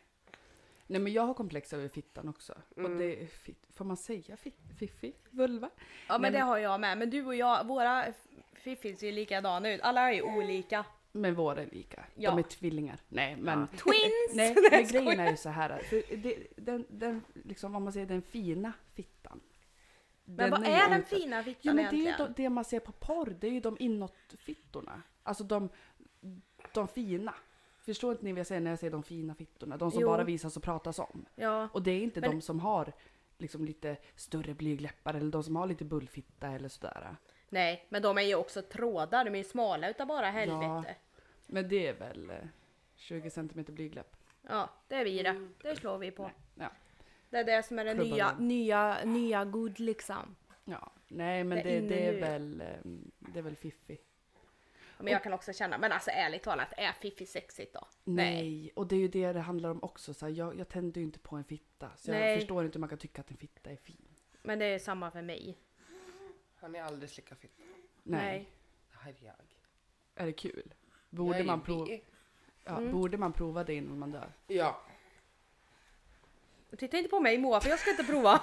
[SPEAKER 2] Nej men jag har komplex över fittan också.
[SPEAKER 3] Mm.
[SPEAKER 2] Och det är fit, får man säga fit, fiffi? Vulva?
[SPEAKER 1] Ja men
[SPEAKER 2] Nej,
[SPEAKER 1] det
[SPEAKER 2] men-
[SPEAKER 1] har jag med. Men du och jag, våra fiffin ser ju likadana ut. Alla är ju olika.
[SPEAKER 2] Men våra är lika.
[SPEAKER 1] Ja.
[SPEAKER 2] De är tvillingar. Nej men.
[SPEAKER 1] Twins!
[SPEAKER 2] Nej, men grejen är ju så här. att- För det, den, den, liksom, om man säger den fina fittan.
[SPEAKER 1] Men vad är den fina fittan
[SPEAKER 2] Jo, men det är ju
[SPEAKER 1] egentligen?
[SPEAKER 2] de, det man ser på porr, det är ju de inåtfittorna. Alltså de, de fina. Förstår inte ni vad jag säger när jag säger de fina fittorna? De som
[SPEAKER 1] Jo.
[SPEAKER 2] bara visas och pratas om.
[SPEAKER 1] Ja.
[SPEAKER 2] Och det är inte
[SPEAKER 1] Men-
[SPEAKER 2] de som har liksom lite större blygläppar eller de som har lite bullfitta eller sådär.
[SPEAKER 1] Nej, men de är ju också trådar. De är ju smala utav bara helvete.
[SPEAKER 2] Men det är väl eh, 20 centimeter blygläpp.
[SPEAKER 1] Ja. det är vi det. Det slår vi på.
[SPEAKER 2] Mm. Ja.
[SPEAKER 1] Det är det som är det
[SPEAKER 2] Klubban
[SPEAKER 1] nya,
[SPEAKER 2] av.
[SPEAKER 1] nya, nya good liksom.
[SPEAKER 2] ja. Nej men
[SPEAKER 1] Det är
[SPEAKER 2] det,
[SPEAKER 1] inne
[SPEAKER 2] det,
[SPEAKER 1] nu.
[SPEAKER 2] är väl, eh, det är väl fiffi.
[SPEAKER 1] Men jag kan också känna, men alltså ärligt talat, är fiffi sexigt då?
[SPEAKER 2] Nej, och det är ju det det handlar om också. Så här, jag, jag tänder ju inte på en fitta. Så
[SPEAKER 1] Nej.
[SPEAKER 2] jag förstår inte hur man kan tycka att en fitta är fin.
[SPEAKER 1] Men det är samma för mig.
[SPEAKER 3] Han är alldeles lika fit. Det här är jag.
[SPEAKER 2] Är det kul? Borde,
[SPEAKER 3] jag är
[SPEAKER 2] man, prov-
[SPEAKER 3] bi.
[SPEAKER 2] ja, borde man prova det innan man dör?
[SPEAKER 3] Ja.
[SPEAKER 1] Titta inte på mig Moa, för jag ska inte prova.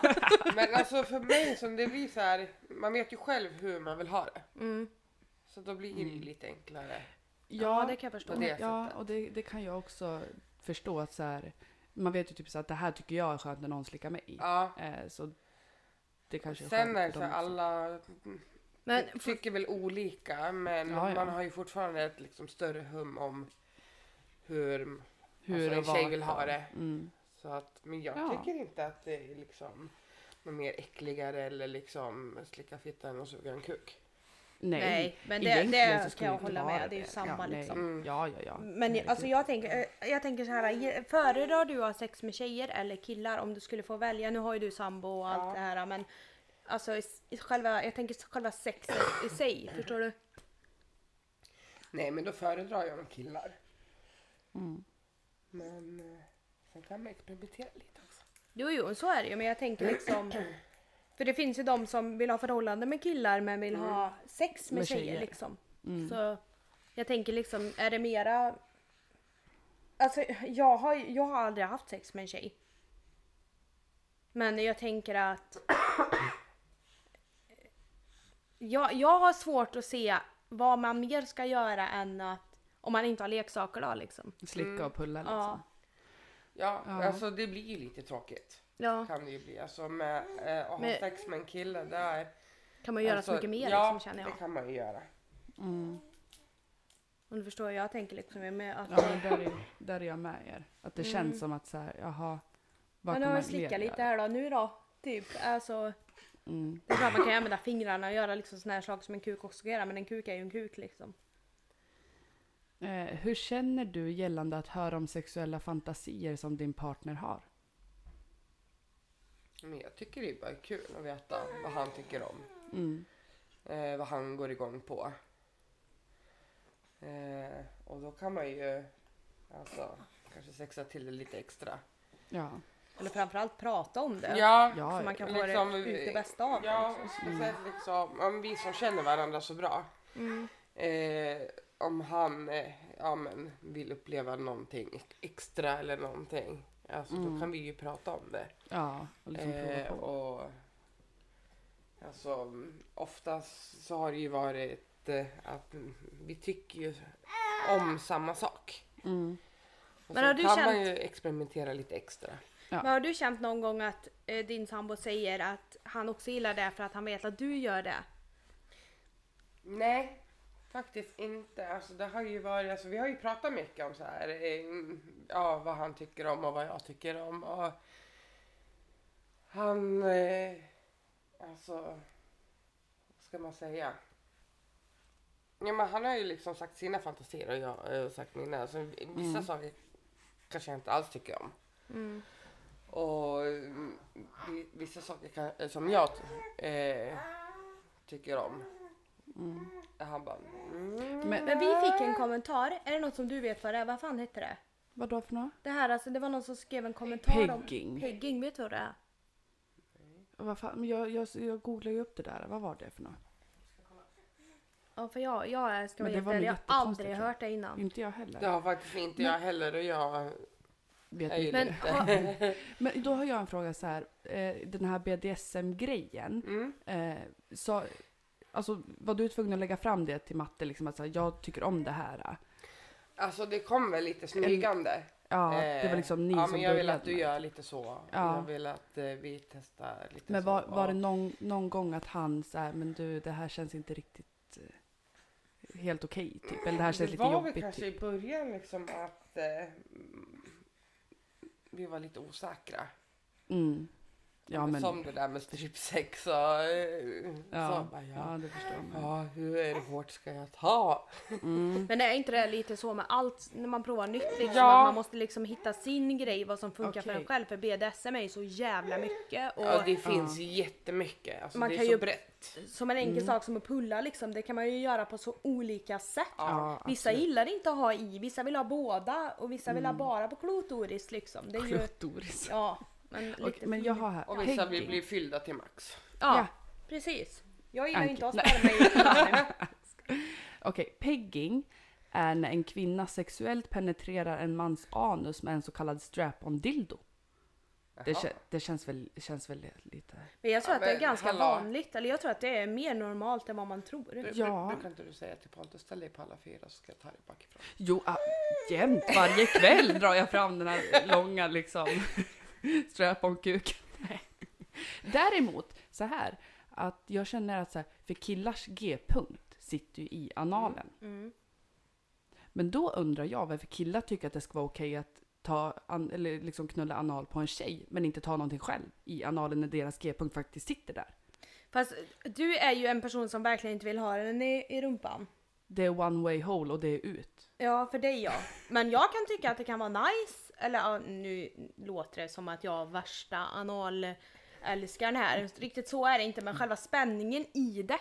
[SPEAKER 3] Men alltså för mig som det blir så här, man vet ju själv hur man vill ha det.
[SPEAKER 1] Mm.
[SPEAKER 3] Så då blir det
[SPEAKER 2] Mm.
[SPEAKER 3] ju lite enklare.
[SPEAKER 1] Ja, det kan jag förstå.
[SPEAKER 3] på det
[SPEAKER 2] Ja,
[SPEAKER 3] sättet.
[SPEAKER 2] och det, det kan jag också förstå. att så här, Man vet ju typ så att det här tycker jag är skönt när någon slickar mig.
[SPEAKER 3] Ja.
[SPEAKER 2] Eh, så det kanske är
[SPEAKER 3] Sen
[SPEAKER 2] skönt
[SPEAKER 3] är
[SPEAKER 2] för
[SPEAKER 3] det så
[SPEAKER 2] dem
[SPEAKER 3] här,
[SPEAKER 2] också.
[SPEAKER 3] alla
[SPEAKER 1] Men
[SPEAKER 3] tycker väl olika men
[SPEAKER 2] Ja, ja.
[SPEAKER 3] man har ju fortfarande ett liksom större hum om hur,
[SPEAKER 2] Hur
[SPEAKER 3] alltså,
[SPEAKER 2] och
[SPEAKER 3] en tjej
[SPEAKER 2] vart
[SPEAKER 3] vill
[SPEAKER 2] och-
[SPEAKER 3] ha det.
[SPEAKER 2] Mm.
[SPEAKER 3] Så att, men jag
[SPEAKER 2] Ja.
[SPEAKER 3] tycker inte att det är liksom något mer äckligare eller liksom slicka fitta än att suga en kuk.
[SPEAKER 2] Nej,
[SPEAKER 1] Nej, men det-
[SPEAKER 2] egentligen
[SPEAKER 1] det
[SPEAKER 2] så
[SPEAKER 1] kan
[SPEAKER 2] skulle
[SPEAKER 1] jag
[SPEAKER 2] inte
[SPEAKER 1] hålla
[SPEAKER 2] vara
[SPEAKER 1] med. Det är ju samma
[SPEAKER 2] ja, nej.
[SPEAKER 1] liksom.
[SPEAKER 3] Mm.
[SPEAKER 2] Ja, ja, ja.
[SPEAKER 1] Men alltså jag tänker, eh, jag tänker så här, ge- föredrar du att ha sex med tjejer eller killar om du skulle få välja? Nu har ju du sambo och allt
[SPEAKER 3] Ja.
[SPEAKER 1] det här men alltså i- i själva, jag tänker själva sexet i sig, förstår du?
[SPEAKER 3] Nej men då föredrar jag de killar.
[SPEAKER 2] Mm.
[SPEAKER 3] Men eh, sen kan man experimentera lite också.
[SPEAKER 1] Jo, jo, så är det ju men jag tänker liksom för det finns ju de som vill ha förhållande med killar men vill ha sex med,
[SPEAKER 2] Mm. Med
[SPEAKER 1] tjejer,
[SPEAKER 2] tjejer.
[SPEAKER 1] liksom. Så jag tänker liksom, är det mera... Alltså jag har, jag har aldrig haft sex med en tjej. Men jag tänker att... jag, jag har svårt att se vad man mer ska göra än att... Om man inte har leksaker då liksom.
[SPEAKER 2] Slicka och pulla liksom.
[SPEAKER 1] Ja.
[SPEAKER 3] Ja,
[SPEAKER 2] Ja.
[SPEAKER 3] alltså det blir ju lite tråkigt.
[SPEAKER 1] Ja,
[SPEAKER 3] Kan det ju bli. Alltså med eh, att ha
[SPEAKER 1] Men-
[SPEAKER 3] sex med en kille där.
[SPEAKER 1] kan man göra
[SPEAKER 3] alltså,
[SPEAKER 1] så mycket mer
[SPEAKER 3] ja,
[SPEAKER 1] liksom känner jag.
[SPEAKER 3] det kan man ju göra.
[SPEAKER 1] Om du förstår vad jag tänker liksom. Med att,
[SPEAKER 2] Ja, men där, är, där är jag med er. Att det känns som att så här, jaha,
[SPEAKER 1] men nu
[SPEAKER 2] vad kan
[SPEAKER 1] har
[SPEAKER 2] man
[SPEAKER 1] jag slickat
[SPEAKER 2] mer
[SPEAKER 1] lite
[SPEAKER 2] göra?
[SPEAKER 1] här då, nu då. Typ, alltså.
[SPEAKER 2] Mm.
[SPEAKER 1] Det är klart man kan använda fingrarna och göra liksom såna här saker som en kuk också kan göra, men en kuk är ju en kuk liksom.
[SPEAKER 2] Eh, hur känner du gällande att höra om sexuella fantasier som din partner har?
[SPEAKER 3] Men jag tycker det är bara kul att veta vad han tycker om.
[SPEAKER 2] Mm.
[SPEAKER 3] eh, vad han går igång på. Eh, och då kan man ju alltså, kanske sexa till det lite extra.
[SPEAKER 2] Ja.
[SPEAKER 1] Eller framförallt prata om det.
[SPEAKER 3] Ja,
[SPEAKER 2] Ja,
[SPEAKER 1] Så man kan få
[SPEAKER 3] Liksom,
[SPEAKER 1] det, ut det bästa av det.
[SPEAKER 3] ja och speciellt liksom, om vi som känner varandra så bra.
[SPEAKER 1] Mm.
[SPEAKER 3] Eh, om han eh, ja, men, vill uppleva någonting extra eller någonting. Alltså, Då kan vi ju prata om det.
[SPEAKER 2] ja, och liksom prova
[SPEAKER 3] Eh,
[SPEAKER 2] på.
[SPEAKER 3] och alltså oftast så har det ju varit eh, att vi tycker ju om samma sak.
[SPEAKER 2] Mm.
[SPEAKER 3] Och
[SPEAKER 1] Men
[SPEAKER 3] sen
[SPEAKER 1] har du
[SPEAKER 3] kan
[SPEAKER 1] känt-
[SPEAKER 3] man ju experimentera lite extra.
[SPEAKER 2] Ja.
[SPEAKER 1] Men har du känt någon gång att eh, din sambo säger att han också gillar det för att han vet att du gör det?
[SPEAKER 3] Nej, faktiskt inte. Alltså det har ju varit, alltså vi har ju pratat mycket om så här, eh, ja vad han tycker om och vad jag tycker om och han, eh, alltså, vad ska ska man säga? Ja, men han har ju liksom sagt sina fantasier och jag har eh, sagt mina. Så vissa saker kanske jag inte alls tycker om.
[SPEAKER 1] Mm.
[SPEAKER 3] Och mm, vi- vissa saker kan, eh, som jag eh, tycker om. Han bara... Mm.
[SPEAKER 2] Men
[SPEAKER 1] Men vi fick en kommentar. Är det något som du vet vad det är? Vad fan hette det?
[SPEAKER 2] vadå för något?
[SPEAKER 1] Det här alltså, det var någon som skrev en kommentar om...
[SPEAKER 2] Pegging.
[SPEAKER 1] Pegging. vet du vad det är?
[SPEAKER 2] Vad fan, men jag, jag, jag googlade ju upp det där. Vad var det för något?
[SPEAKER 1] Ja, för jag, jag är- ska
[SPEAKER 2] Men
[SPEAKER 1] vara
[SPEAKER 2] det
[SPEAKER 1] helt
[SPEAKER 2] var nog
[SPEAKER 1] ärlig, jag har
[SPEAKER 2] jättekonstigt,
[SPEAKER 1] aldrig
[SPEAKER 2] tror jag.
[SPEAKER 1] hört det innan.
[SPEAKER 2] Inte jag heller.
[SPEAKER 3] Det har faktiskt inte jag heller och jag...
[SPEAKER 2] Vet
[SPEAKER 3] Jag
[SPEAKER 2] ni.
[SPEAKER 3] gillar
[SPEAKER 1] Men
[SPEAKER 3] inte.
[SPEAKER 1] ha,
[SPEAKER 2] Men då har jag en fråga så här. Eh, den här BDSM-grejen.
[SPEAKER 3] Mm.
[SPEAKER 2] Eh, så, alltså, var du tvungen att lägga fram det till matte? Liksom, att så här, jag tycker om det här.
[SPEAKER 3] Alltså det kom väl lite smygande.
[SPEAKER 2] Ja, det
[SPEAKER 3] Eh,
[SPEAKER 2] var liksom ni
[SPEAKER 3] ja,
[SPEAKER 2] som
[SPEAKER 3] men jag vill
[SPEAKER 2] började
[SPEAKER 3] att du
[SPEAKER 2] med det.
[SPEAKER 3] gör lite så.
[SPEAKER 2] Ja.
[SPEAKER 3] Jag vill att eh, vi testar lite
[SPEAKER 2] Men
[SPEAKER 3] så.
[SPEAKER 2] var, var
[SPEAKER 3] Ja.
[SPEAKER 2] det någon, någon gång att han så här, men du, det här känns inte riktigt eh, helt okej, typ. Eller det här känns
[SPEAKER 3] det
[SPEAKER 2] lite
[SPEAKER 3] var
[SPEAKER 2] jobbigt.
[SPEAKER 3] väl kanske
[SPEAKER 2] typ.
[SPEAKER 3] i början liksom att eh, vi var lite osäkra.
[SPEAKER 2] Mm. Ja, men,
[SPEAKER 3] Som det där med strypsex och eh,
[SPEAKER 2] ja,
[SPEAKER 3] så bara, ja.
[SPEAKER 2] ja, det förstår man.
[SPEAKER 3] ja, hur hårt ska jag ta?
[SPEAKER 2] Mm.
[SPEAKER 1] men är inte det lite så med allt när man provar nytt liksom?
[SPEAKER 3] Ja.
[SPEAKER 1] Att man måste liksom hitta sin grej, vad som funkar för en
[SPEAKER 2] Okej.
[SPEAKER 1] själv. För BDSM är ju så jävla mycket. Och
[SPEAKER 3] Ja, det finns jättemycket. Alltså,
[SPEAKER 1] Man
[SPEAKER 3] det
[SPEAKER 1] kan
[SPEAKER 3] Mm. är så
[SPEAKER 1] ju-
[SPEAKER 3] brett.
[SPEAKER 1] Som en enkel sak som att pulla liksom, det kan man ju göra på så olika sätt.
[SPEAKER 2] Ja,
[SPEAKER 1] Vissa gillar inte att ha i, vissa vill ha båda och vissa
[SPEAKER 3] Mm.
[SPEAKER 1] vill ha bara på klotoris liksom. Det är ju,
[SPEAKER 2] Klotoris.
[SPEAKER 1] ja, men lite
[SPEAKER 2] Okej, men jag har här.
[SPEAKER 3] Och vissa vill
[SPEAKER 2] Pegging.
[SPEAKER 3] bli fyllda till max.
[SPEAKER 1] Ja,
[SPEAKER 2] Ja.
[SPEAKER 1] precis. Jag gillar ju
[SPEAKER 2] Anki.
[SPEAKER 1] inte att ha sperma i
[SPEAKER 2] Okej, pegging är när en kvinna sexuellt penetrerar en mans anus med en så kallad strap-on dildo. Det,
[SPEAKER 3] Jaha.
[SPEAKER 2] kä- det känns, väl, känns väl lite...
[SPEAKER 1] Men jag tror
[SPEAKER 3] Ja,
[SPEAKER 1] att det är
[SPEAKER 3] men
[SPEAKER 1] ganska
[SPEAKER 3] hallå. Mm.
[SPEAKER 1] vanligt, eller jag tror att det är mer normalt än vad man tror.
[SPEAKER 2] Ja.
[SPEAKER 3] Brukar inte du säga till Pontus, ställ dig på alla fyra så ska jag ta dig bakifrån.
[SPEAKER 2] Jo, ah, jämt varje kväll drar jag fram den här långa liksom strap-on-kuken. Nej. Däremot så här att jag känner att så här, för killars g-punkt sitter ju i analen.
[SPEAKER 1] Mm.
[SPEAKER 2] Men då undrar jag varför killar tycker att det ska vara okej att ta an, eller liksom knulla anal på en tjej men inte ta någonting själv i analen när deras g-punkt faktiskt sitter där.
[SPEAKER 1] Fast eh, du är ju en person som verkligen inte vill ha den i, i rumpan.
[SPEAKER 2] Det är one way hole och det är ut.
[SPEAKER 1] Ja, för dig ja. Men jag kan tycka att det kan vara nice, eller ja, nu låter det som att jag är värsta analälskaren här. Riktigt så är det inte, men själva spänningen i det.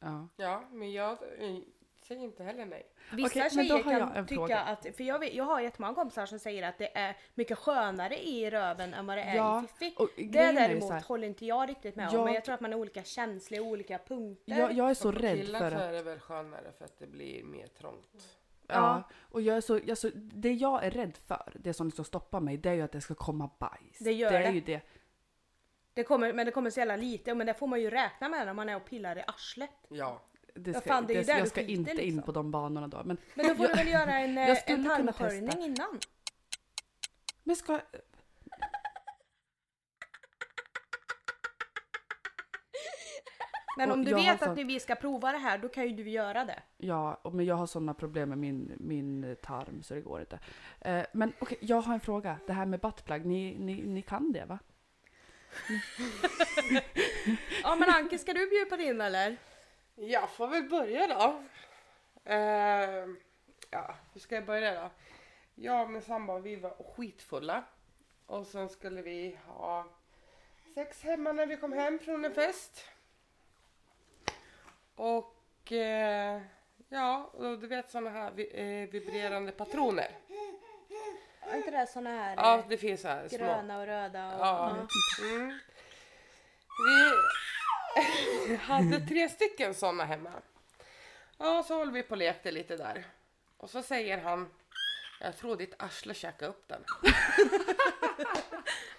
[SPEAKER 2] Ja.
[SPEAKER 3] Ja, men jag eh, säger inte heller nej.
[SPEAKER 1] Vissa
[SPEAKER 2] Okej, men då
[SPEAKER 1] tjejer
[SPEAKER 2] har
[SPEAKER 1] kan
[SPEAKER 2] jag en
[SPEAKER 1] tycka
[SPEAKER 2] fråga.
[SPEAKER 1] att, för jag, vet, jag har jättemånga kompisar som säger att det är mycket skönare i röven än vad det är
[SPEAKER 2] Ja,
[SPEAKER 1] i fiffi.
[SPEAKER 2] och
[SPEAKER 1] Det
[SPEAKER 2] grejen är ju
[SPEAKER 1] däremot
[SPEAKER 2] så här-
[SPEAKER 1] håller inte jag riktigt med om,
[SPEAKER 2] Jag-
[SPEAKER 1] men jag tror att man är olika känslig och olika punkter.
[SPEAKER 2] Jag, jag är
[SPEAKER 3] Och
[SPEAKER 2] så
[SPEAKER 3] på
[SPEAKER 2] rädd
[SPEAKER 3] killar
[SPEAKER 2] för
[SPEAKER 3] så
[SPEAKER 2] att...
[SPEAKER 3] är det väl skönare för att det blir mer trångt.
[SPEAKER 2] Ja. Och jag är så, jag är så, det jag är rädd för, det som liksom stoppar mig, det är ju att det ska komma bajs.
[SPEAKER 1] Det gör
[SPEAKER 2] är
[SPEAKER 1] det.
[SPEAKER 2] ju det.
[SPEAKER 1] Det kommer, men det kommer så jävla lite, men det får man ju räkna med när man är och pillar i arslet.
[SPEAKER 3] Ja.
[SPEAKER 2] det
[SPEAKER 1] Ja,
[SPEAKER 2] ska,
[SPEAKER 1] fan, det är ju
[SPEAKER 2] det,
[SPEAKER 1] där
[SPEAKER 2] jag
[SPEAKER 1] du
[SPEAKER 2] ska
[SPEAKER 1] skiter,
[SPEAKER 2] inte in
[SPEAKER 1] liksom.
[SPEAKER 2] på de banorna då. Men,
[SPEAKER 1] Men då får
[SPEAKER 2] jag,
[SPEAKER 1] du väl göra en, eh,
[SPEAKER 2] jag skulle
[SPEAKER 1] en
[SPEAKER 2] kunna
[SPEAKER 1] tarmsköljning
[SPEAKER 2] testa.
[SPEAKER 1] innan.
[SPEAKER 2] men ska...
[SPEAKER 1] Men
[SPEAKER 2] Och
[SPEAKER 1] om du
[SPEAKER 2] jag har
[SPEAKER 1] vet
[SPEAKER 2] sån-
[SPEAKER 1] att ni- vi ska prova det här, då kan ju du göra det.
[SPEAKER 2] Ja, och- men jag har sådana problem med min, min tarm så det går inte. Eh, men okej, jag har en fråga. Det här med buttplug, ni, ni, ni kan det va?
[SPEAKER 1] Ja men Anke, ska du bjuda på din eller?
[SPEAKER 3] Jag får väl börja då. Eh, ja, hur ska jag börja då? Jag och min sambo vi var skitfulla. Och sen skulle vi ha sex hemma när vi kom hem från en fest. Och eh, ja, och du vet sådana här vi- eh, vibrerande patroner.
[SPEAKER 1] Är inte det såna här
[SPEAKER 3] Ja,
[SPEAKER 1] eh,
[SPEAKER 3] det finns så här små.
[SPEAKER 1] gröna och röda? Och,
[SPEAKER 3] Ja. Mm. Vi hade tre stycken sådana hemma. Ja, så håller vi på och lekte lite där. Och så säger han, jag tror ditt arsle käkade upp den.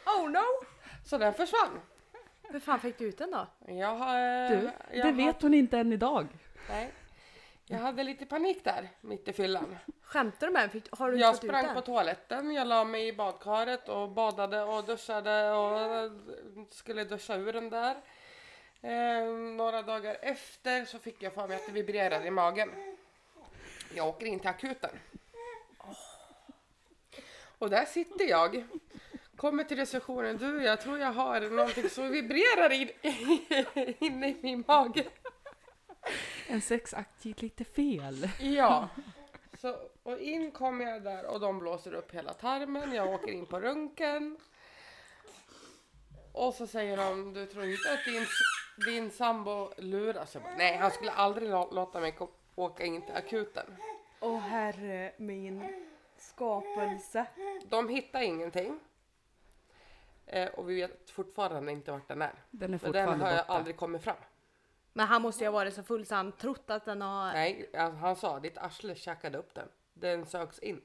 [SPEAKER 1] Oh no!
[SPEAKER 3] Så den försvann.
[SPEAKER 1] Hur fan fick du ut den då?
[SPEAKER 3] Jag, har- eh,
[SPEAKER 2] Du,
[SPEAKER 3] jag
[SPEAKER 2] det vet hon inte än idag.
[SPEAKER 3] Har, nej. Jag hade lite panik där, mitt i fyllan.
[SPEAKER 1] Skämtar du med mig? Har du inte
[SPEAKER 3] Jag
[SPEAKER 1] fått ut
[SPEAKER 3] sprang
[SPEAKER 1] den?
[SPEAKER 3] på toaletten, jag la mig i badkaret och badade och duschade och skulle duscha ur den där. Eh, några dagar efter så fick jag för mig att det vibrerade i magen. Jag Oh. åker in till akuten. Och där sitter jag. Kommer till recessionen. Du, jag tror jag har någonting som vibrerar in, inne i min mage.
[SPEAKER 2] En sexakt gick lite fel.
[SPEAKER 3] Ja. Så, och in kom jag där och de blåser upp hela tarmen. Jag åker in på röntgen. Och så säger de, du tror inte att din, din sambo luras? Jag bara, nej, han skulle aldrig lå- låta mig ko- åka in till akuten.
[SPEAKER 1] Åh herre min skapelse.
[SPEAKER 3] De hittar ingenting. Eh, och vi vet fortfarande inte vart den är.
[SPEAKER 2] Den är
[SPEAKER 3] För den
[SPEAKER 2] fortfarande
[SPEAKER 3] har jag
[SPEAKER 2] borta.
[SPEAKER 3] aldrig kommit fram.
[SPEAKER 1] Men han måste ju ha varit så full så han trott att den har...
[SPEAKER 3] Nej, alltså, han sa, ditt arsle käkade upp den. Den sögs in.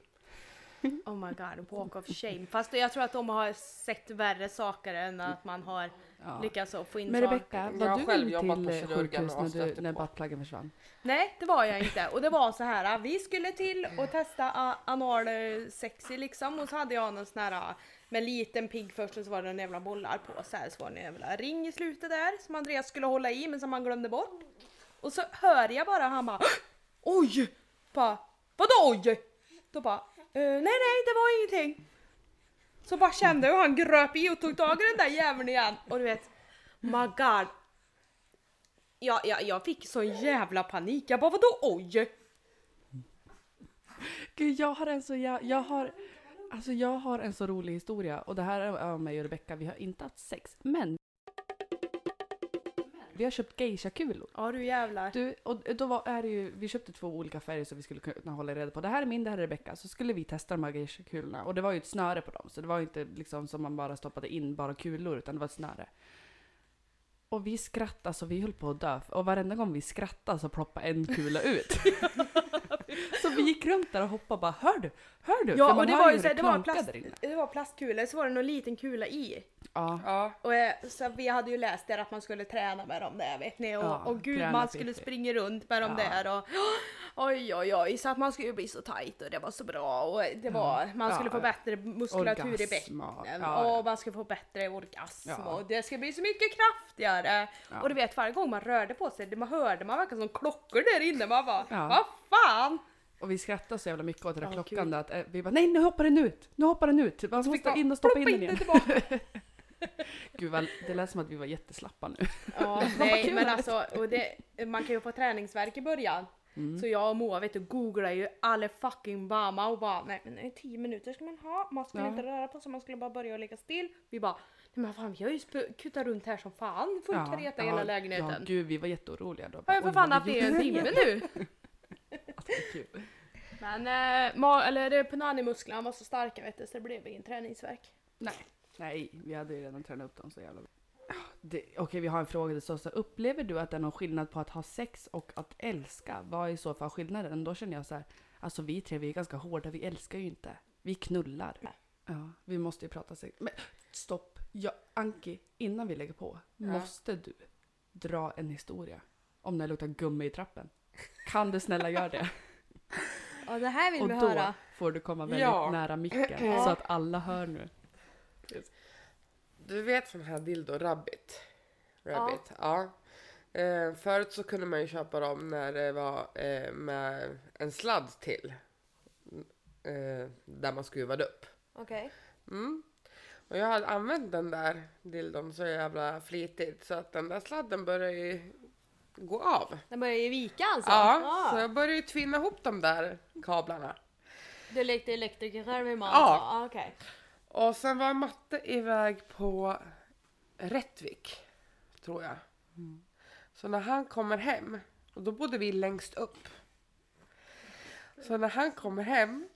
[SPEAKER 1] Oh my god, walk of shame. Fast jag tror att de har sett värre saker än att man har
[SPEAKER 2] Ja.
[SPEAKER 1] lyckats att få in
[SPEAKER 2] Men
[SPEAKER 1] saker.
[SPEAKER 2] Rebecka,
[SPEAKER 3] Jag
[SPEAKER 2] var
[SPEAKER 3] har
[SPEAKER 2] du
[SPEAKER 3] själv
[SPEAKER 2] själv
[SPEAKER 3] jobbat
[SPEAKER 2] till
[SPEAKER 3] på
[SPEAKER 2] eh,
[SPEAKER 3] kirurgen
[SPEAKER 2] sjukhus
[SPEAKER 3] och
[SPEAKER 2] när, du,
[SPEAKER 3] stötte
[SPEAKER 2] när
[SPEAKER 3] på.
[SPEAKER 2] buttpluggen försvann?
[SPEAKER 1] Nej, det var jag inte. Och det var så här, "Ah, vi skulle till och testa a- anal eh, sexy liksom. Och så hade jag någon sån här ah, med liten pigg först och så var det en jävla bollar på. Så här så var det en jävla ring i slutet där som Andreas skulle hålla i men som han glömde bort. Och så hör jag bara han bara "Ah, Oj! Bara, Vadå oj? Då bara "Eh, Nej nej det var ingenting. Så bara kände jag hur han gröp i och tog tag i den där jäveln igen. Och du vet, my god. Ja, ja, jag fick sån jävla panik. Jag bara vadå oj?
[SPEAKER 2] Gud, jag har en så jag, jag har Alltså jag har en så rolig historia och det här är av mig och Rebecka, vi har inte haft sex, men vi har köpt geisha-kulor.
[SPEAKER 1] Ja du jävlar.
[SPEAKER 2] Du, och då var, är det ju, vi köpte två olika färger så vi skulle kunna hålla reda på. Det här är min, det här är Rebecka. Så skulle vi testa de här geisha-kulorna. Och det var ju ett snöre på dem. Så det var ju inte liksom som man bara stoppade in bara kulor, utan det var ett snöre. Och vi skrattade så vi höll på att dö. Och varenda gång vi skrattade så ploppade en kula ut. så vi gick runt där och hoppade och bara hör du, hör du? För
[SPEAKER 1] Ja
[SPEAKER 2] man
[SPEAKER 1] och det
[SPEAKER 2] hör
[SPEAKER 1] var
[SPEAKER 2] hur
[SPEAKER 1] ju så här, det var,
[SPEAKER 2] knankar
[SPEAKER 1] plast,
[SPEAKER 2] där inne.
[SPEAKER 1] det var plastkulor så var det någon liten kula i.
[SPEAKER 2] Ja.
[SPEAKER 3] Ja,
[SPEAKER 1] Och eh, så vi hade ju läst där att man skulle träna med dem där vet ni och,
[SPEAKER 2] Ja,
[SPEAKER 1] och gud
[SPEAKER 2] träna
[SPEAKER 1] man
[SPEAKER 2] fick
[SPEAKER 1] skulle
[SPEAKER 2] vi.
[SPEAKER 1] springa runt med dem
[SPEAKER 2] Ja.
[SPEAKER 1] där och oj oj oj så att man skulle ju bli så tight och det var så bra och det var man skulle
[SPEAKER 2] Ja.
[SPEAKER 1] få bättre muskulatur i
[SPEAKER 2] Orgasm och-
[SPEAKER 1] bäcken
[SPEAKER 2] ja,
[SPEAKER 1] och man skulle få bättre orgasm
[SPEAKER 2] Ja.
[SPEAKER 1] och det ska bli så mycket kraftigare
[SPEAKER 2] Ja.
[SPEAKER 1] och du vet varje gång man rörde på sig det man hörde man verkligen som klockor där inne man bara
[SPEAKER 2] Ja.
[SPEAKER 1] vad fan
[SPEAKER 2] Och vi skrattade så jävla mycket åt den där
[SPEAKER 1] Ja,
[SPEAKER 2] klockan
[SPEAKER 1] gud.
[SPEAKER 2] där att eh, vi bara nej nu hoppar den ut, nu hoppar den ut. Man
[SPEAKER 1] fick
[SPEAKER 2] måste
[SPEAKER 1] man
[SPEAKER 2] in och stoppa in
[SPEAKER 1] ploppa
[SPEAKER 2] den
[SPEAKER 1] in
[SPEAKER 2] igen.
[SPEAKER 1] den
[SPEAKER 2] Gud vad, det lät som att vi var jätteslappa nu.
[SPEAKER 1] Ja, nej men alltså, och det, man kan ju få träningsvärk i början.
[SPEAKER 2] Mm.
[SPEAKER 1] Så jag och Moa vet du, googlar ju alla fucking bama och bara nej men 10 minuter ska man ha, man skulle
[SPEAKER 2] Ja.
[SPEAKER 1] inte röra på sig, man skulle bara börja och ligga still. Vi bara nej men fan vi har ju sp- kutat runt här som fan, full kareta i hela
[SPEAKER 2] Ja,
[SPEAKER 1] lägenheten.
[SPEAKER 2] gud vi var jätteoroliga då.
[SPEAKER 1] Har jag för
[SPEAKER 2] Oj,
[SPEAKER 1] fan
[SPEAKER 2] vad
[SPEAKER 1] haft
[SPEAKER 2] vi
[SPEAKER 1] det i en timme
[SPEAKER 2] gjorde.
[SPEAKER 1] nu?
[SPEAKER 2] Alltså, kul.
[SPEAKER 1] Men eh, ma- eller det- punanimusklerna var så starka vet du så det blev ingen träningsvärk.
[SPEAKER 2] Nej. Nej, vi hade ju redan tränat upp dem så jävla Ah, det, Okej, vi har en fråga till Sossa. Upplever du att det är någon skillnad på att ha sex och att älska? Vad är i så fall skillnaden? Då känner jag så här, alltså vi tre vi är ganska hårda, vi älskar ju inte. Vi knullar.
[SPEAKER 1] Nej.
[SPEAKER 2] Ja, vi måste ju prata sex. Men stopp! Ja, Anki, innan vi lägger på, måste du dra en historia om när det luktar gummi i trappen? Kan du snälla göra det?
[SPEAKER 1] Ja det här
[SPEAKER 2] Och då får du komma väldigt
[SPEAKER 3] Ja.
[SPEAKER 2] nära micken så att alla hör nu.
[SPEAKER 3] Du vet sån här dildo rabbit? Rabbit, ja. Eh, förut så kunde man ju köpa dem när det var eh, med en sladd till. Eh, där man skruvade upp.
[SPEAKER 1] Okej.
[SPEAKER 3] Mm. Och jag hade använt den där dildon så jävla flitigt så att den där sladden började ju gå av.
[SPEAKER 1] Den börjar ju vika alltså?
[SPEAKER 3] Ja, så jag började ju tvinna ihop de där kablarna.
[SPEAKER 1] Du lekte elektriker själv i
[SPEAKER 3] Ja. alltså?
[SPEAKER 1] Ah, okej.
[SPEAKER 3] Och sen var matte iväg på Rättvik, tror jag.
[SPEAKER 2] Mm.
[SPEAKER 3] Så när han kommer hem, och då bodde vi längst upp. Så när han kommer hem,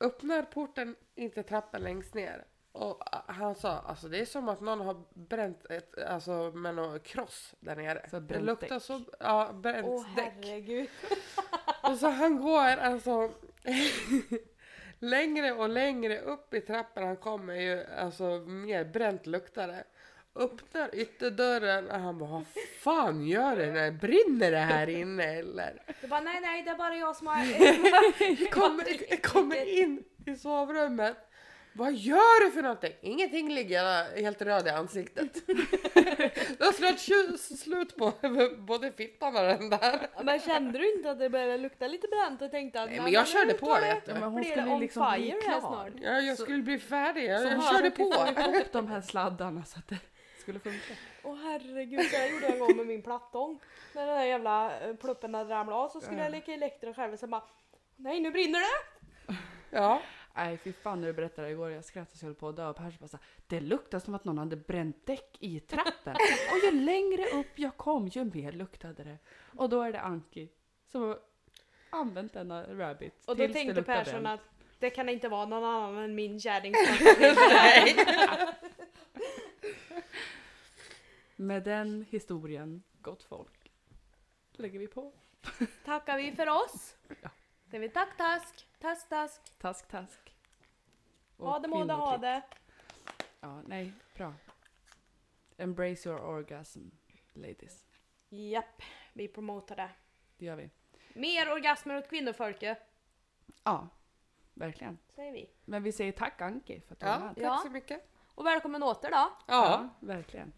[SPEAKER 3] öppnar porten, inte trappan längst ner. Och ah, han sa, alltså det är som att någon har bränt ett, alltså med någon kross där nere.
[SPEAKER 2] Så
[SPEAKER 3] det
[SPEAKER 2] bränt
[SPEAKER 3] luktar
[SPEAKER 2] däck.
[SPEAKER 3] så, ja, bränt
[SPEAKER 1] Åh
[SPEAKER 3] däck.
[SPEAKER 1] herregud.
[SPEAKER 3] Och så han går alltså längre och längre upp i trappan. Han kommer ju alltså mer bränt luktare. Öppnar ytterdörren och han bara, vad fan gör det när brinner det här inne eller?
[SPEAKER 1] Du bara nej nej det är bara jag som har...
[SPEAKER 3] Kommer, kommer in i sovrummet Vad gör du för någonting? Ingenting ligger jag helt röd i ansiktet. du har slagit tju- slut på både fittan och den där.
[SPEAKER 1] Men kände du inte att det började lukta lite bränt och tänkte att
[SPEAKER 3] Nej, men jag körde på vet
[SPEAKER 2] Ja, men
[SPEAKER 3] du.
[SPEAKER 2] hon
[SPEAKER 1] Blir det
[SPEAKER 2] skulle
[SPEAKER 1] on
[SPEAKER 2] liksom bli
[SPEAKER 1] fire här
[SPEAKER 2] klar.
[SPEAKER 1] snart?
[SPEAKER 3] Ja, jag skulle bli färdig. Jag,
[SPEAKER 2] Så
[SPEAKER 3] jag
[SPEAKER 2] har
[SPEAKER 3] körde
[SPEAKER 2] hon
[SPEAKER 3] på.
[SPEAKER 2] fått ihop de här sladdarna så att det skulle funka.
[SPEAKER 1] Åh herregud, så jag gjorde en gång med min plattång. När den där jävla eh, pluppen hade ramlat av så skulle jag leka elektro själv och sen bara Nej nu brinner det!
[SPEAKER 3] Ja.
[SPEAKER 2] Nej fy fan när du berättade det igår, jag skrattade så jag höll på att dö. Och Pers bara så här, det luktar som att någon hade bränt däck i trappen. Och ju längre upp jag kom ju mer luktade det. Och då är det Anki som har använt denna rabbit.
[SPEAKER 1] Och då
[SPEAKER 2] tills det
[SPEAKER 1] tänkte
[SPEAKER 2] luktar
[SPEAKER 1] Persson
[SPEAKER 2] bränt.
[SPEAKER 1] att det kan inte vara någon annan än min kärring.
[SPEAKER 2] Med den historien, gott folk, lägger vi på.
[SPEAKER 1] Tackar vi för oss.
[SPEAKER 2] Ja.
[SPEAKER 1] Det är vi tack task, task task.
[SPEAKER 2] Task, task. Och
[SPEAKER 1] Ha det må det ha
[SPEAKER 2] kvinnoklipp.
[SPEAKER 1] det.
[SPEAKER 2] Ja, nej, bra. Embrace your orgasm, ladies.
[SPEAKER 1] Japp, vi promotar det.
[SPEAKER 2] Det gör vi.
[SPEAKER 1] Mer orgasmer åt kvinnofolket,
[SPEAKER 2] Ja, verkligen.
[SPEAKER 1] säger vi. Men-
[SPEAKER 2] Men vi säger tack Anki för att du var
[SPEAKER 3] ja,
[SPEAKER 2] med.
[SPEAKER 3] tack så mycket.
[SPEAKER 1] Och välkommen åter då.
[SPEAKER 3] Ja.
[SPEAKER 2] verkligen.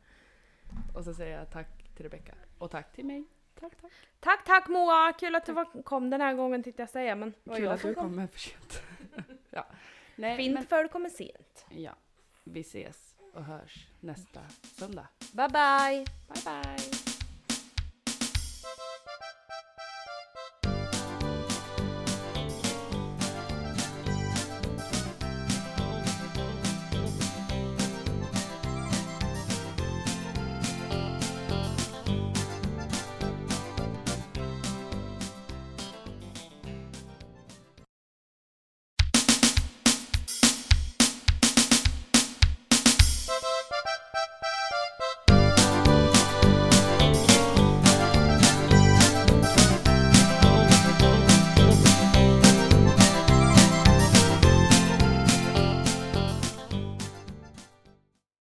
[SPEAKER 2] Och så säger jag tack till Rebecka och tack till mig. Tack, tack.
[SPEAKER 1] Tack tack Moa, kul att du var- kom den här gången tänkte jag säga men det var
[SPEAKER 2] Kul
[SPEAKER 1] jag
[SPEAKER 2] att
[SPEAKER 1] som
[SPEAKER 2] du
[SPEAKER 1] kom.
[SPEAKER 2] kom med för sent. ja. Nej,
[SPEAKER 1] Fint
[SPEAKER 2] men-
[SPEAKER 1] för du kommer sent.
[SPEAKER 2] ja. Vi ses och hörs nästa söndag.
[SPEAKER 1] Bye bye!
[SPEAKER 2] Bye, bye.